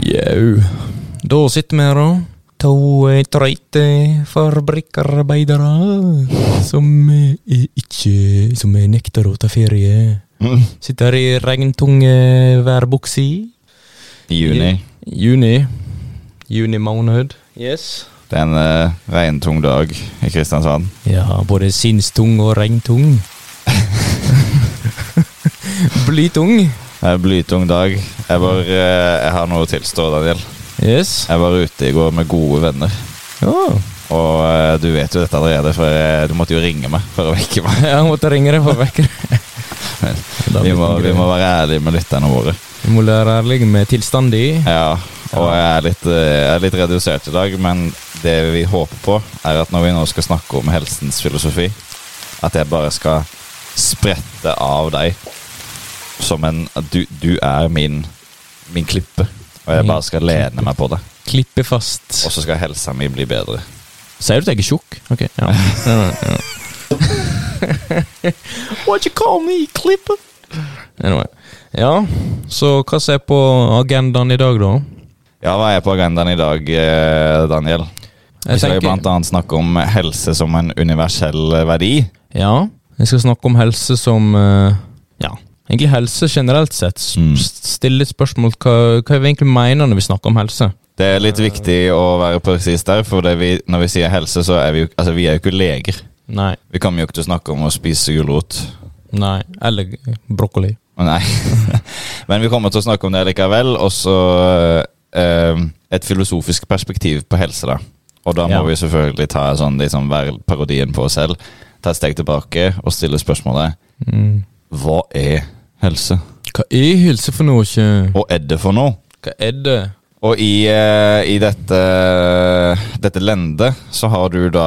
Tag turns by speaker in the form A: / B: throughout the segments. A: Jau. Da sitter vi her, da. To eh, trøyte fabrikkarbeidere som eh, er ikke Som eh, nekter å ta ferie. Sitter i regntunge værbukse.
B: I juni.
A: Juni. Juni måned. Yes.
B: Det er en eh, regntung dag i Kristiansand.
A: Ja, både sinnstung og regntung. Blytung.
B: Det er en blytung dag. Jeg, var, eh, jeg har noe å tilstå, Daniel.
A: Yes.
B: Jeg var ute i går med gode venner.
A: Ja.
B: Og eh, du vet jo dette allerede, for eh, du måtte jo ringe meg for å vekke meg.
A: Jeg måtte ringe deg for å vekke deg. Da
B: Vi
A: blir
B: må,
A: det
B: vi
A: greit.
B: må være ærlige med lytterne våre.
A: Vi må være ærlige med tilstanden din.
B: Ja, og jeg er, litt, eh, jeg er litt redusert i dag, men det vi håper på, er at når vi nå skal snakke om helsens filosofi, at jeg bare skal sprette av deg som en at Du, du er min, min klippe, og jeg bare skal lene meg på det.
A: Klippe fast.
B: Og så skal helsa mi bli bedre.
A: Sier du at jeg er tjukk? Ok, ja. ja, ja. What you call me, klipper? Anyway. Ja, så hva som er på agendaen i dag, da?
B: Ja, hva er på agendaen i dag, eh, Daniel? Vi skal jo blant annet snakke om helse som en universell verdi.
A: Ja, jeg skal snakke om helse som eh, Ja, egentlig helse generelt sett. S-
B: Mm.
A: s- Stille et spørsmål hva, hva vi egentlig mener når vi snakker om helse.
B: Det er litt viktig å være presis der, for det vi, når vi sier helse, så er vi jo altså, vi er jo ikke leger.
A: Nei.
B: Vi kommer jo ikke til å snakke om å spise gulrot.
A: Nei. Eller brokkoli.
B: Å, Nei. Men vi kommer til å snakke om det likevel. Og så eh, et filosofisk perspektiv på helse, da. Og da må
A: Ja.
B: vi selvfølgelig ta sånn, liksom, være parodien på oss selv. Ta et steg tilbake og stille spørsmålet
A: Mm.
B: Hva er helse?
A: Hva er helse for noe?
B: Og er det for noe?
A: Hva er det?
B: Og i, eh, i dette, dette lendet så har du da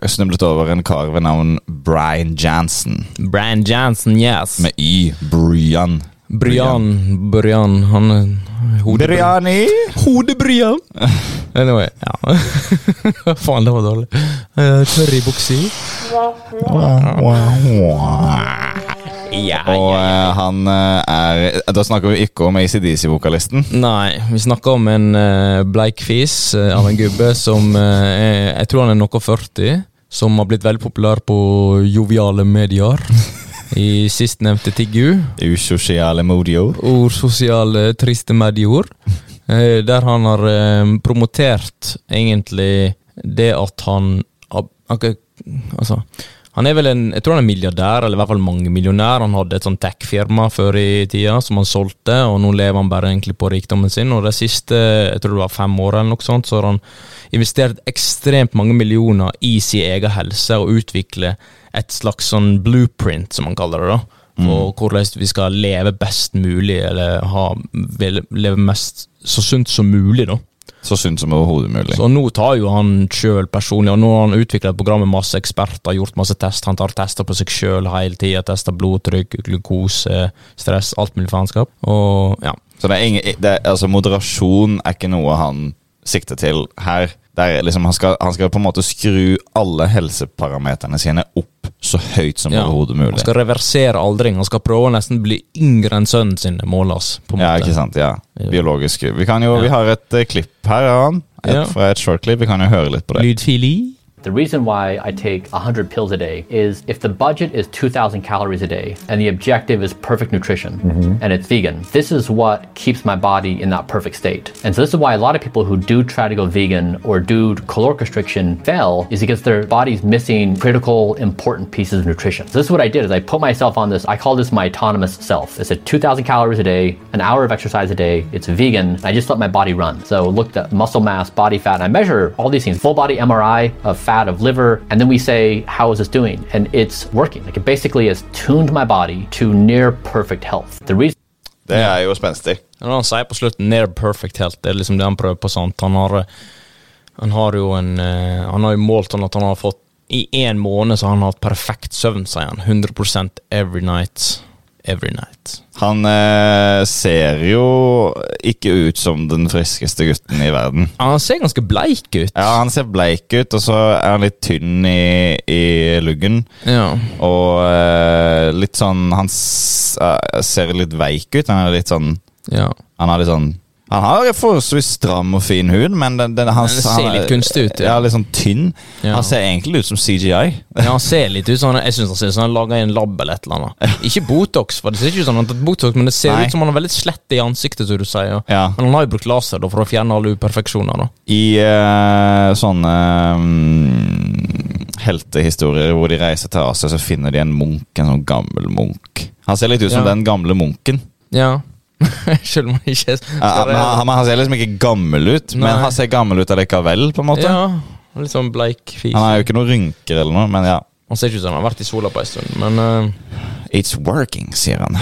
B: eh, snublet over en kar ved navn Brian Jansen.
A: Brian Jansen, yes.
B: Med Y. Brian.
A: Brian. Brian. Han er hodebry-
B: Briani!
A: Hodebrian! Anyway. Ja. Faen, det var dårlig. Eh, Tørr i buksa.
B: Og eh, han eh, er Da snakker vi ikke om ACDC-vokalisten.
A: eh, Nei, vi snakker om en eh, bleikfis eh, av en gubbe som eh, er, Jeg tror han er noe 40, som har blitt veldig populær på joviale medier. I sistnevnte Tiggu.
B: Usosiale modio.
A: Ord sosiale triste medier. eh, Der han har eh, promotert egentlig det at han ab- ak- Altså han er vel en, Jeg tror han er milliardær, eller i hvert fall mangemillionær. Han hadde et sånn tech-firma før i tida som han solgte, og nå lever han bare egentlig på rikdommen sin. Og de siste jeg tror det var fem årene eller noe sånt, så har han investert ekstremt mange millioner i sin egen helse og utvikle et slags sånn blueprint, som han kaller det. da
B: Mm.
A: og hvordan vi skal leve best mulig, eller ha, vel- leve mest så sunt som mulig, da.
B: Så sunt som overhodet mulig.
A: Så nå tar jo han sjøl personlig, og nå har han utvikla et program med masse eksperter, gjort masse test, han tar tester på seg sjøl hele tida, tester blodtrykk, glukose, stress, alt mulig faenskap. Og ja.
B: Så det er ingen, det er, altså moderasjon er ikke noe han sikter til her. Det er liksom, han, skal, han skal på en måte skru alle helseparameterne sine opp så høyt som
A: ja.
B: overhodet
A: Han
B: mulig.
A: skal reversere aldring, han skal prøve å nesten bli yngre enn sønnen sin, måles, på en
B: Ja, ikke
A: måte.
B: sant? Ja.
A: Ja.
B: Biologisk. Vi, kan jo,
A: Ja.
B: vi har et eh, klipp her av han. Et,
A: Ja.
B: Fra et shortclip. Vi kan jo høre litt på det.
A: Lydfil i?
C: The reason why I take 100 pills a day is if the budget is 2,000 calories a day and the objective is perfect nutrition and it's vegan, this is what keeps my body in that perfect state. And so, this is why a lot of people who do try to go vegan or do caloric restriction fail, is because their body's missing critical, important pieces of nutrition. So, this is what I did is I put myself on this, I call this my autonomous self. It's at 2,000 calories a day, an hour of exercise a day, it's vegan, and I just let my body run. So, looked at muscle mass, body fat, and I measure all these things full body MRI of fat, of liver, and then we say, How is this doing? And it's working. Like it basically has tuned my body to near perfect health. The reason
B: Det er jo spenstig.
A: Men han sier på slutten 'near perfect helt'. Det er liksom det han prøver på. sant? Han har, han har jo en eh, Han har jo målt sånn at han har fått I én måned så har han hatt perfekt søvn, sier han. 100 every night. every night.
B: Han eh, ser jo ikke ut som den friskeste gutten i verden.
A: Han ser ganske bleik ut.
B: Ja, Han ser bleik ut, og så er han litt tynn i, i luggen.
A: Ja.
B: Og eh, litt sånn Han s eh, ser litt veik ut. Han er litt sånn
A: ja.
B: Han har litt sånn Han har forholdsvis stram og fin hud, men den, den, han,
A: Den ser
B: han er-
A: litt kunstig ut,
B: Ja.
A: ja.
B: litt sånn tynn.
A: Ja.
B: Han ser egentlig ut som CGI.
A: Ja, han ser litt ut som han, jeg synes han ser ut som han er laget i en lab eller et eller annet. Ikke Botox, for det ser ikke ut som han har tatt Botox, men det ser
B: Nei.
A: ut som han er veldig slett i ansiktet, som du sier.
B: Ja.
A: Men han har jo brukt laser da, for å fjerne alle uperfeksjoner. da.
B: I eh, sånne mm, heltehistorier hvor de reiser til Asia, så finner de en munk, en sånn gammel munk. Han ser litt ut som
A: Ja.
B: den gamle munken.
A: Ja. Selv om han ikke skal
B: Ja, men han, men han ser liksom ikke gammel ut,
A: Nei.
B: men han ser gammel ut allikevel. på en måte.
A: Ja, litt sånn bleik fis.
B: Han har jo ikke noen rynker eller noe, men ja.
A: Han ser ikke ut som han har vært i sola på en stund, men eh,
B: It's working, sier han.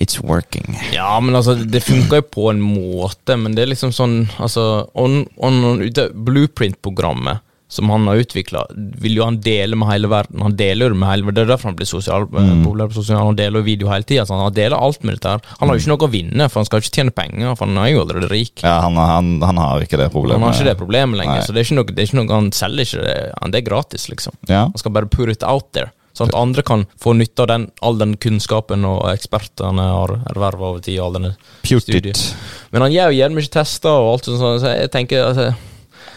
B: It's working.
A: Ja, men altså, det funker jo på en måte, men det er liksom sånn altså, on, on, on, ute- Blueprint-programmet som han har utvikla, vil jo han dele med hele verden. Han deler jo det med hele Det er derfor han blir sosial,
B: Mm.
A: eh, populær på sosial, han deler jo video hele tida. Han deler alt med dette her. Han har jo ikke noe å vinne, for han skal jo ikke tjene penger, for han er jo allerede rik.
B: Ja, han, han, han har ikke det problemet.
A: Han har ikke det problemet lenger,
B: Nei.
A: så det er ikke noe, det er ikke noe han selger ikke det. Han- Det er gratis, liksom.
B: Ja.
A: Han skal bare put it out there. Sånn at andre kan få nytte av den, all den kunnskapen og ekspertene har erverva over tid. og all denne
B: Put
A: studien.
B: it.
A: Men han gjør jo gjerne mye tester og alt sånt, sånn, så jeg tenker altså,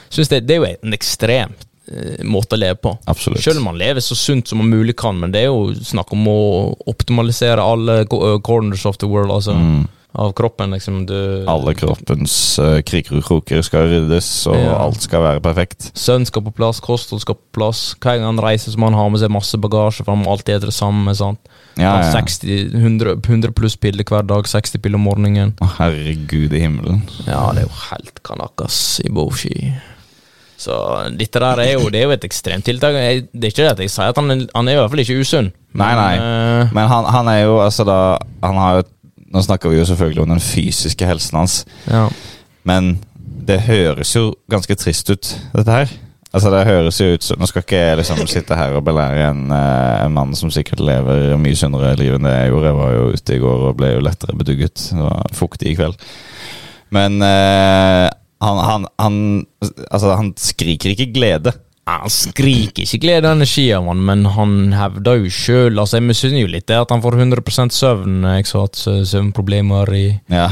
A: synes det, det er jo en ekstrem eh, måte å leve på.
B: Absolutt.
A: Selv om man lever så sunt som man mulig kan, men det er jo snakk om å optimalisere alle go- eh, corners of the world, altså. Av kroppen, liksom. Du,
B: Mm. Alle kroppens eh, kriker og kroker skal ryddes, og
A: Ja.
B: alt skal være perfekt.
A: Søvn skal på plass, kosthold skal på plass. Hver gang han reiser, så må han ha med seg masse bagasje, for han må alltid spise det samme. sant?
B: Ja,
A: Han
B: ja,
A: har
B: ja.
A: 60, 100, 100 pluss piller hver dag, 60 piller om morgenen.
B: Å, herregud i himmelen.
A: Ja, det er jo helt kanakas i Boshi. Så dette der er jo, det er jo et ekstremt tiltak. Jeg, det er ikke det at jeg sier at han, er- han er i hvert fall ikke usunn.
B: Nei, nei.
A: Men, eh,
B: Men han, han er jo altså da han har jo, Nå snakker vi jo selvfølgelig om den fysiske helsen hans,
A: ja.
B: men det høres jo ganske trist ut, dette her. Altså Det høres jo ut som Nå skal ikke jeg liksom sitte her og belære en, eh, en mann som sikkert lever mye sunnere liv enn det jeg gjorde. Jeg var jo ute i går og ble jo lettere bedugget. Det var fuktig i kveld. Men eh, han, han, han Altså, han skriker ikke glede.
A: Han skriker ikke glede og energi av han, men han hevder jo sjøl altså, Jeg misunner jo litt det at han får 100 søvn. eh, Jeg har hatt sø- søvnproblemer i,
B: Ja.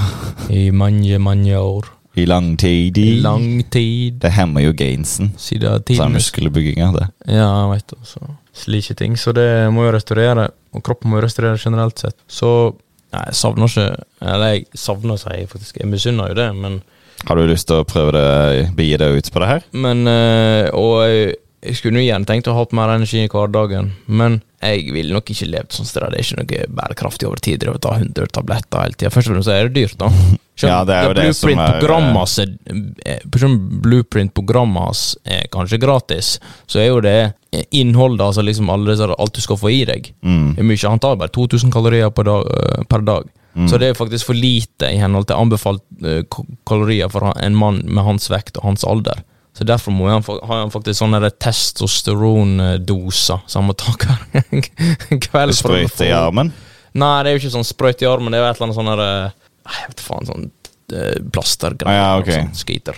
A: i mange, mange år.
B: I lang tid.
A: I lang tid.
B: Det hemmer jo gainsen.
A: Siden
B: Så er
A: tiden
B: muskelbygginga, det.
A: Ja, jeg vet også. Slike ting. Så det må jo restaurere, og kroppen må jo restaurere generelt sett. Så Nei, jeg savner ikke Eller jeg savner, sier jeg faktisk. Jeg misunner jo det, men,
B: Har du lyst til å prøve det, begi deg ut på det her?
A: men eh, Og jeg, jeg skulle jo gjerne tenkt å ha hatt mer energi i hverdagen, men jeg ville nok ikke levd sånn sted. Det er ikke noe bærekraftig over tid å ta 100 tabletter hele tida. Først og fremst er det dyrt, da.
B: Ja, det er jo det som er-
A: Blueprint-programmet hans er, eh, for eksempel Blueprint-programmet hans er eh, kanskje gratis, så er jo det eh, innholdet, altså liksom alle disse, alt du skal få i deg, er mye. Han tar bare 2000 kalorier på dag, eh, per dag. Så det er faktisk for lite i henhold til anbefalt eh, ko- kalorier for han- en mann med hans vekt og hans alder. Så derfor må han, fa- har han faktisk sånne der testosterondoser som han må ta hver kveld. for å
B: Sprøyte i
A: få-
B: armen?
A: Nei, det er jo ikke sånn sprøyt i armen, det er jo et eller annet sånn der eh, Jeg vet faen, sånn eh, plastergreier.
B: Ah, ja, ok.
A: sånn skiter.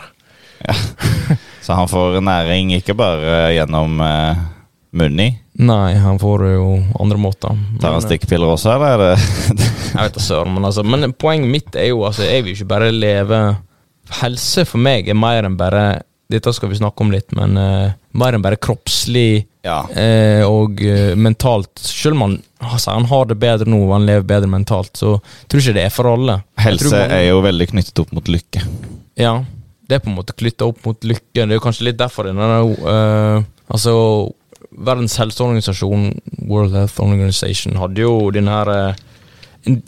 B: Så han får næring ikke bare gjennom eh, munnen i.
A: Nei, han får det jo andre måter.
B: Tar han
A: Men, eh,
B: stikkpiller også, eller er det
A: Jeg vet da søren, men altså Men poenget mitt er jo altså, jeg vil ikke bare leve Helse for meg er mer enn bare Dette skal vi snakke om litt, men eh, mer enn bare kroppslig
B: Ja.
A: eh, og eh, mentalt. Selv om han, altså, han har det bedre nå og han lever bedre mentalt, så tror jeg ikke det er for alle. Jeg tror
B: Helse
A: mange-
B: er jo veldig knyttet opp mot lykke.
A: Ja, det er på en måte knytta opp mot lykke. Det er jo kanskje litt derfor denne eh, Altså, Verdens helseorganisasjon, World Health Organization, hadde jo den her eh,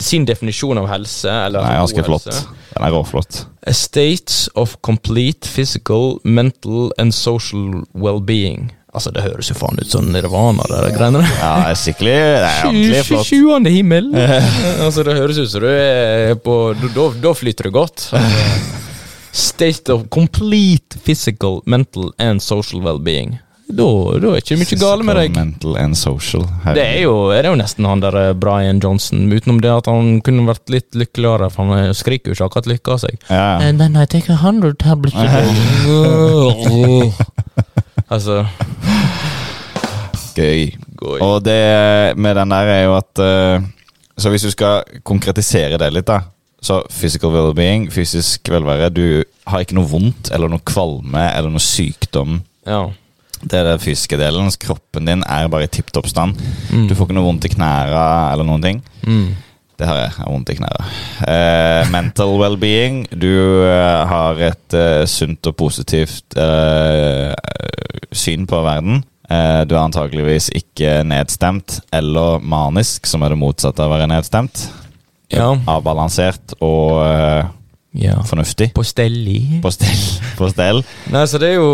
A: sin definisjon av helse. Eller
B: Den er
A: god
B: ganske flott.
A: helse.
B: Den er råflott.
A: A state of complete physical, mental and social well-being. Altså, det høres jo faen ut som nirvana, det der greiene der.
B: Ja, det er skikkelig Det er ordentlig flott.
A: 27. himmel! altså, det høres ut som du er på Da, da- da flyter det godt. Altså, State of complete physical, mental and social well-being. Da, da er ikke mye gale med deg.
B: Mental and social. Her.
A: Det er jo, det er jo nesten han der eh, Brian Johnson, utenom det at han kunne vært litt lykkeligere, for han eh, skriker jo ikke akkurat lykke av seg.
B: ja.
A: And then I take a hundred tablets a day. Altså,
B: Gøy.
A: Gøy.
B: Og det med den der er jo at eh, Så hvis du skal konkretisere det litt, da. Så physical well-being, fysisk velvære Du har ikke noe vondt eller noe kvalme eller noe sykdom.
A: ja.
B: Det er den fysiske delen. så Kroppen din er bare i tipp topp stand. Du får ikke noe vondt i knærne eller noen ting.
A: Mm.
B: Det har jeg. jeg har vondt i knærne. Eh, mental well-being. Du eh, har et eh, sunt og positivt eh, syn på verden. Eh, du er antakeligvis ikke nedstemt eller manisk, som er det motsatte av å være nedstemt.
A: Ja.
B: Avbalansert og eh,
A: ja.
B: fornuftig.
A: På stelli.
B: På stell. På stell.
A: Nei, så det er jo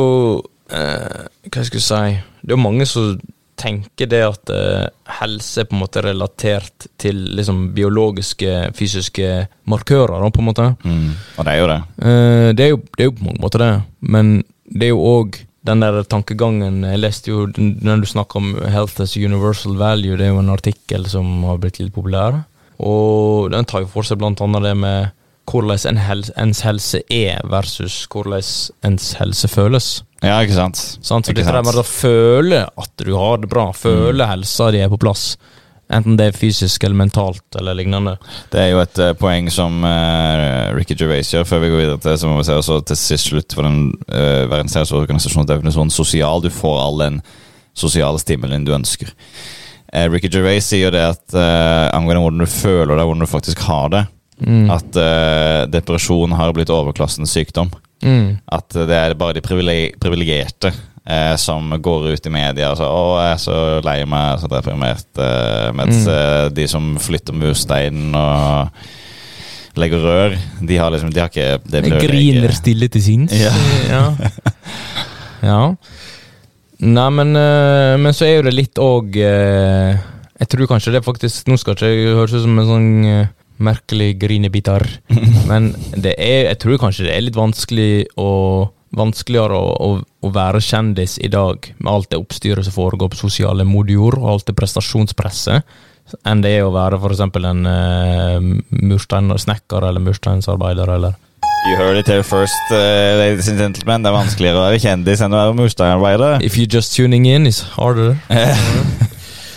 A: eh, Hva skal jeg si Det er jo mange som tenker det at eh, helse er på en måte relatert til liksom biologiske, fysiske markører, da, på en måte.
B: Mm. Og det er jo det.
A: Eh, det, er jo, det er jo på mange måter det, men det er jo òg den der tankegangen Jeg leste jo den den du snakker om Health as universal value, det er jo en artikkel som har blitt litt populær, og den tar jo for seg blant annet det med hvordan en helse, ens helse er versus hvordan ens helse føles.
B: Ja, ikke sant?
A: Sant? Så
B: Ikke
A: dette der med å føle at du har det bra, føle helsa di er på plass, enten det er fysisk eller mentalt eller lignende.
B: Det er jo et eh, poeng som eh, Ricky Gervais gjør før vi går videre til Så må vi se også til sist slutt for den uh, Verdens helseorganisasjons definisjon sosial. Du får all den sosiale stimulien du ønsker. Eh, Ricky Gervais sier jo det at eh, angående hvordan du føler deg, hvordan du faktisk har det,
A: Mm.
B: at eh, depresjon har blitt overklassens sykdom. At det er bare de privile- privilegerte eh, som går ut i media og sier 'Å, jeg er så lei meg, jeg er så deprimert', eh, mens eh, de som flytter mursteinen og legger rør, de har liksom De har ikke det
A: Jeg griner stille til sinns.
B: Ja.
A: ja. ja. Nei, men, eh, men så er jo det litt òg eh, Jeg tror kanskje det faktisk Nå skal ikke jeg høres ut som en sånn eh, merkelig grinebitar, men det er, jeg tror kanskje det er litt vanskelig å Vanskeligere å, å, å være kjendis i dag, med alt det oppstyret som foregår på sosiale modior, og alt det prestasjonspresset, enn det er å være for eksempel en uh, mursteinsnekker eller mursteinsarbeider eller
B: You heard it here first, eh, ladies and gentlemen. Det er vanskeligere å være kjendis enn å være mursteinarbeider.
A: If you're just tuning in, it's harder.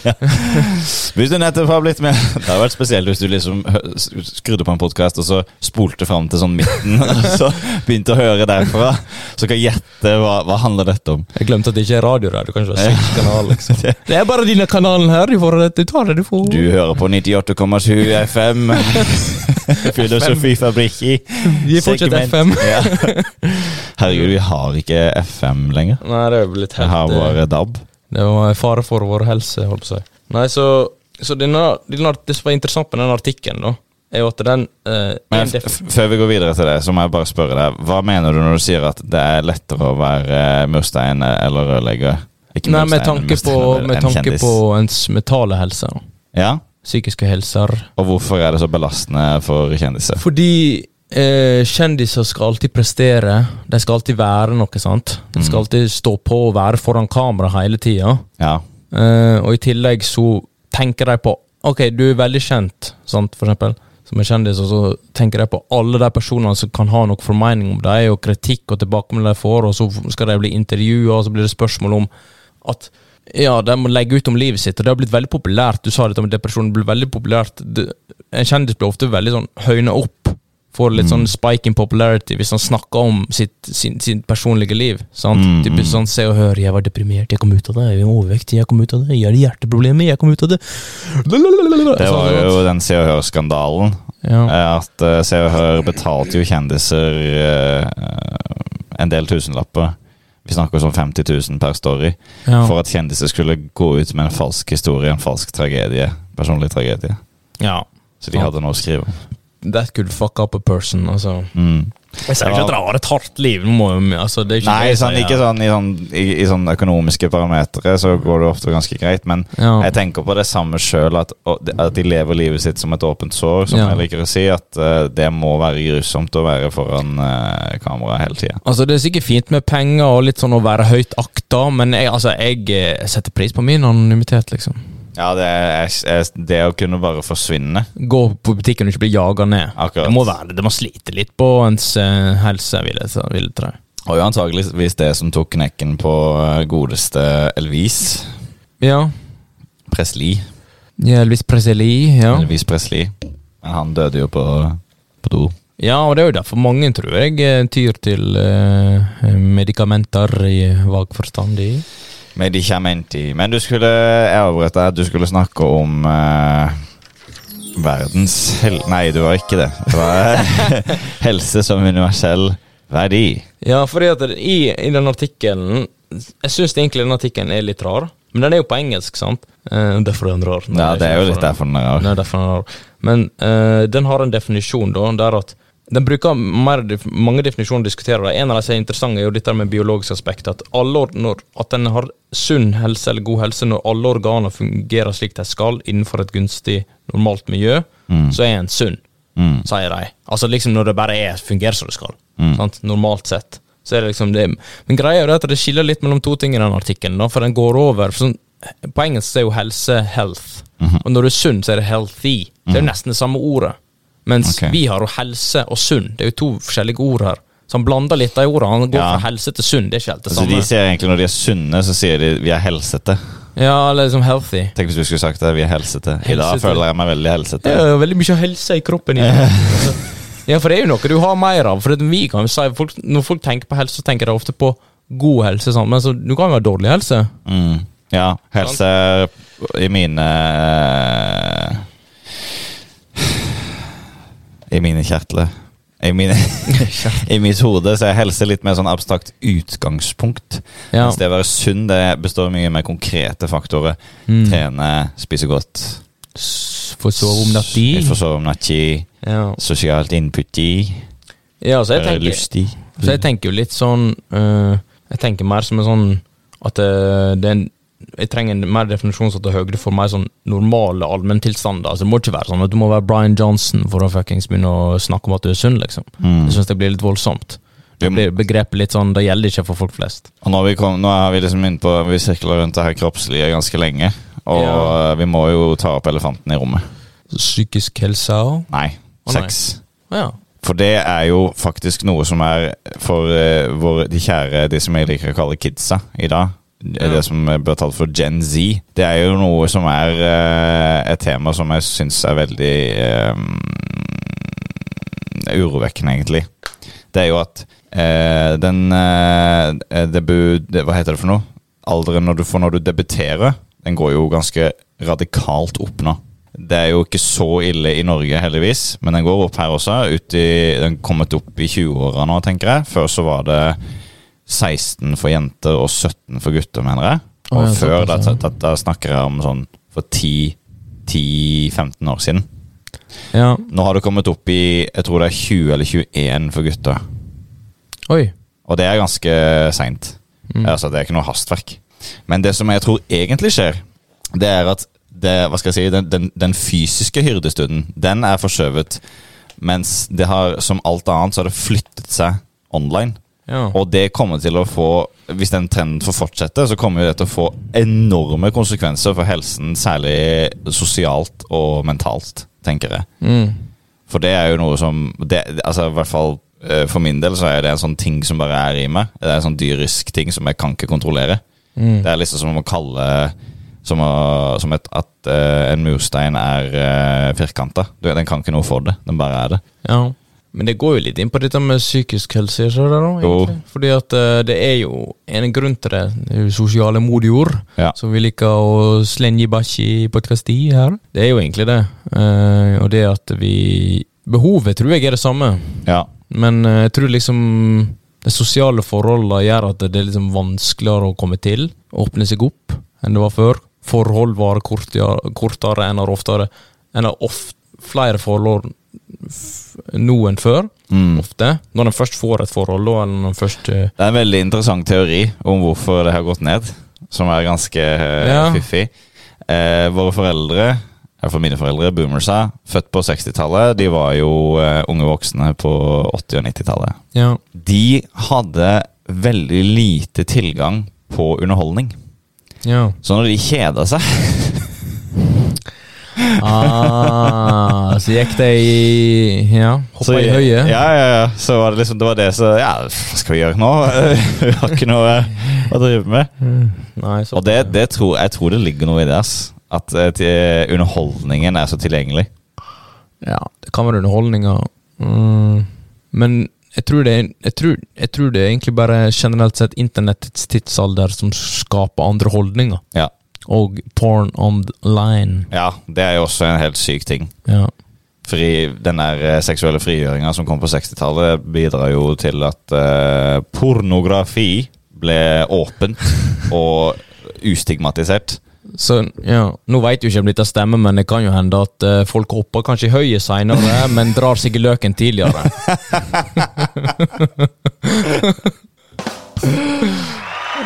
B: Hvis du nettopp har blitt med Det hadde vært spesielt hvis du liksom hø- skrudde på en podkast og så spolte fram til sånn midten, og så begynte å høre derfra. Så kan jeg gjette hva, hva handler dette om.
A: Jeg glemte at det ikke er radio der. Du kan ikke ha seks kanal, liksom. Det er bare denne kanalen her. Du, får, du tar det du får.
B: Du hører på 98,7 FM. Filosofifabrikki.
A: Vi er fortsatt
B: Segment.
A: FM.
B: Ja. Herregud, vi har ikke FM lenger.
A: Nei, det er jo blitt
B: Vi har
A: helt eh,
B: bare DAB.
A: Det var fare for vår helse, holdt på å si. Nei, så, så denne, denne, det som var interessant med den artikkelen, da, er jo at den eh,
B: Men
A: en
B: f-
A: def-
B: f- før vi går videre til det, så må jeg bare spørre deg. Hva mener du når du sier at det er lettere å være eh, murstein eller rørlegger? Ikke
A: Nei, med
B: murstein,
A: tanke på,
B: murstein,
A: med
B: en
A: tanke
B: kjendis.
A: på ens mentale helse. da.
B: Ja,
A: Psykiske helser.
B: Og hvorfor er det så belastende for kjendiser?
A: Fordi eh, kjendiser skal alltid prestere. De skal alltid være noe, sant? De skal alltid stå på og være foran kamera hele tida.
B: Ja,
A: Eh, og i tillegg så tenker de på Ok, du er veldig kjent, sant, for eksempel, som er kjendis, og så tenker de på alle de personene som kan ha noe formening om deg, og kritikk og tilbakemeldinger de får, og så skal de bli intervjua, og så blir det spørsmål om at ja, de må legge ut om livet sitt, og det har blitt veldig populært. Du sa dette med depresjon, det blir veldig populært. Det, en kjendis blir ofte veldig sånn høyna opp. Får litt
B: Mm.
A: sånn spike in popularity hvis han snakker om sitt, sin, sin personlige liv. Sant?
B: Mm,
A: Typisk sånn se og hør, jeg var deprimert, jeg kom ut av det, jeg er overvektig, jeg kom ut av det, jeg hadde hjerteproblemer, jeg kom ut av det.
B: Det
A: Altså,
B: var jo den Se og Hør-skandalen.
A: Ja.
B: Eh, At eh, Se og Hør betalte jo kjendiser eh, eh, en del tusenlapper. Vi snakker sånn 50 000 per story.
A: Ja.
B: For at kjendiser skulle gå ut med en falsk historie, en falsk tragedie. Personlig tragedie.
A: ja.
B: Så de hadde noe å skrive om.
A: That could fuck up a person, altså.
B: Mm.
A: Jeg sier ikke at det har et hardt liv. Nå må, jo- altså, det er ikke det
B: Nei,
A: jeg
B: sånn,
A: sier.
B: ikke sånn i, sånn, i, i sånn økonomiske parametere så går det ofte ganske greit, men
A: Ja.
B: jeg tenker på det samme sjøl, at, å- at de lever livet sitt som et åpent sår, som
A: Ja.
B: jeg liker å si, at eh, det må være grusomt å være foran eh, kamera hele tida.
A: Altså, Det er sikkert fint med penger og litt sånn å være høyt akta, men jeg, altså, jeg eh, setter pris på min anonymitet, liksom.
B: Ja, det, er, er, det å kunne bare forsvinne
A: Gå på butikken og ikke bli jaga ned.
B: Akkurat.
A: Det må være det. Man sliter litt på ens eh, helse, vil jeg, vil jeg tro.
B: Og jo antageligvis det som tok knekken på eh, godeste Elvis
A: Ja.
B: Presley.
A: Elvis Presley, ja.
B: Elvis Presley. Men han døde jo på, på do.
A: Ja, og det er jo derfor mange, tror jeg, eh, tyr til eh, medikamenter i vag forstand. i.
B: Men de kommer inn til Men du skulle Jeg avbrøt deg. Du skulle snakke om eh, verdens hel... Nei, du var ikke det. Det var eh, helse som universell verdi.
A: Ja, fordi at det- i, i den artikkelen Jeg syns egentlig den artikkelen er litt rar, men den er jo på engelsk, sant? Eh, derfor er den rar. Nei,
B: Ja, det er jo
A: ikke
B: litt derfor den er
A: Det
B: rar.
A: er derfor den er rar. Men eh, den har en definisjon, da, der at den bruker mer, def- mange definisjoner å diskutere. det. En av de som er interessante, er jo dette med biologisk aspekt. At, alle, or- når, at en har sunn helse eller god helse når alle organer fungerer slik de skal innenfor et gunstig, normalt miljø, så er en sunn, sier de. Altså liksom når det bare er, fungerer som det skal. Sant? Normalt sett. Så er det liksom det. Men greia er jo det at det skiller litt mellom to ting i den artikkelen, da, for den går over. For sånn, på engelsk så er jo helse health,
B: Mhm.
A: og når du er sunn, så er det healthy. Det er jo nesten det samme ordet. Mens
B: Ok.
A: vi har jo helse og sunn. Det er jo to forskjellige ord her. Så han blander litt av ordene. Han går
B: Ja.
A: fra helse til sunn. Det er ikke helt det
B: Så de
A: samme.
B: sier egentlig Når de er sunne, så sier de 'vi er helsete'.
A: ja, eller liksom healthy.
B: Tenk hvis du skulle sagt det. Vi er helsete. I dag
A: Helsete.
B: føler jeg meg veldig helsete.
A: Det er jo veldig mye helse i kroppen. i dag. Altså, ja, for det er jo noe du har mer av. For at vi kan jo si, folk, Når folk tenker på helse, så tenker de ofte på god helse, sant? men så, du kan jo ha dårlig helse.
B: Mm. Ja, helse i mine eh, I mine kjertler. I, mine, I mitt hode så er helse litt mer sånn abstrakt utgangspunkt.
A: Ja.
B: Mens det å være sunn det består mye mer konkrete faktorer. Trene, spise godt.
A: S- Få Mm. sove om natta.
B: Ikke forsove om natta.
A: Ja.
B: Sosialt input i.
A: ja, så jeg
B: Være
A: tenker
B: lystig.
A: Så jeg tenker jo litt sånn eh, Jeg tenker mer som en sånn At eh, det er en jeg trenger en mer definisjon så at høyde for meg sånn normale allmenntilstander. Altså, det må ikke være sånn at du må være Brian Johnson for å fuckings begynne å snakke om at du er sunn, liksom.
B: Mm.
A: Jeg syns det blir litt voldsomt. Det
B: Du-
A: blir begrepet litt sånn Det gjelder ikke for folk flest.
B: Og nå, er vi kom, nå er vi liksom inne på Vi sirkler rundt det her kroppslige ganske lenge. Og
A: Ja.
B: eh, vi må jo ta opp elefanten i rommet.
A: Psykisk helse òg?
B: Nei.
A: Å, nei.
B: sex.
A: Ja.
B: For det er jo faktisk noe som er for eh, vår, de kjære, de som jeg liker å kalle kidsa i dag. Det
A: Ja.
B: det som blir talt for Gen Z. Det er jo noe som er eh, et tema som jeg syns er veldig eh, urovekkende, egentlig. Det er jo at eh, den eh, debu, det, Hva heter det for noe? Alderen når du, får når du debuterer, den går jo ganske radikalt opp nå. Det er jo ikke så ille i Norge, heldigvis, men den går opp her også. Ut i, den er kommet opp i 20-åra nå, tenker jeg. Før så var det 16 for jenter og 17 for gutter, mener jeg. Og
A: Å, ja,
B: før, da,
A: såpass, ja.
B: da, da snakker jeg om sånn for 10 10-15 år siden.
A: ja.
B: Nå har det kommet opp i jeg tror det er 20 eller 21 for gutter.
A: Oi.
B: Og det er ganske seint. Altså, det er ikke noe hastverk. Men det som jeg tror egentlig skjer, det er at det, hva skal jeg si, den, den, den fysiske hyrdestunden den er forskjøvet. Mens det har, som alt annet, så har det flyttet seg online.
A: Ja.
B: Og det kommer til å få Hvis den trenden får fortsette, så kommer jo det til å få enorme konsekvenser for helsen, særlig sosialt og mentalt, tenker jeg.
A: Mm.
B: For det er jo noe som det, altså, i hvert fall eh, For min del så er det en sånn ting som bare er i meg. Det er en sånn dyrisk ting som jeg kan ikke kontrollere. Det er liksom som å kalle Som, å, som et, at eh, en murstein er uh, firkanta. Du, Den kan ikke noe for det. Den bare er det.
A: Ja. Men det går jo litt inn på dette med psykisk helse. Ikke det, da,
B: Jo.
A: egentlig? Fordi at eh, det er jo en grunn til det. det er jo sosiale modjord,
B: Ja.
A: som vi liker å slenge bæsj i podkasti her. Det er jo egentlig det. Eh, og det at vi Behovet tror jeg er det samme,
B: Ja.
A: men eh, jeg tror liksom de sosiale forholdene gjør at det er liksom vanskeligere å komme til. Åpne seg opp enn det var før. Forhold varer kortere, kortere enn har oftere. En har of- flere forhold f- nå enn før,
B: Mm.
A: ofte. Når en først får et forhold, da, eller når en først eh,
B: Det er en veldig interessant teori om hvorfor det har gått ned, som er ganske eh,
A: Ja.
B: fiffig. Eh, våre foreldre, iallfall mine foreldre, boomersa, født på 60-tallet, de var jo eh, unge voksne på 80- og 90-tallet.
A: Ja.
B: De hadde veldig lite tilgang på underholdning.
A: ja.
B: Så når de kjeda seg
A: Ah, så gikk det i Ja, hoppa
B: så,
A: i høyet.
B: Ja, ja, ja. Så var det liksom Det var det som Ja, hva skal vi gjøre nå? vi har ikke noe å drive med.
A: Nei, så,
B: Og det, det tror, jeg tror det ligger noe i det. ass. At eh, til- underholdningen er så tilgjengelig.
A: ja, det kan være underholdninger. Mm. Men jeg tror, det, er- jeg, tror, jeg tror det er egentlig bare generelt sett internettets tidsalder som skaper andre holdninger.
B: Ja.
A: Og porn online.
B: ja, det er jo også en helt syk ting.
A: Ja.
B: Fordi den der eh, seksuelle frigjøringa som kom på 60-tallet, bidrar jo til at eh, pornografi ble åpent og ustigmatisert.
A: Så ja, Nå veit jo ikke om dette stemmer, men det kan jo hende at eh, folk hopper kanskje i høyet seinere, men drar seg i løken tidligere.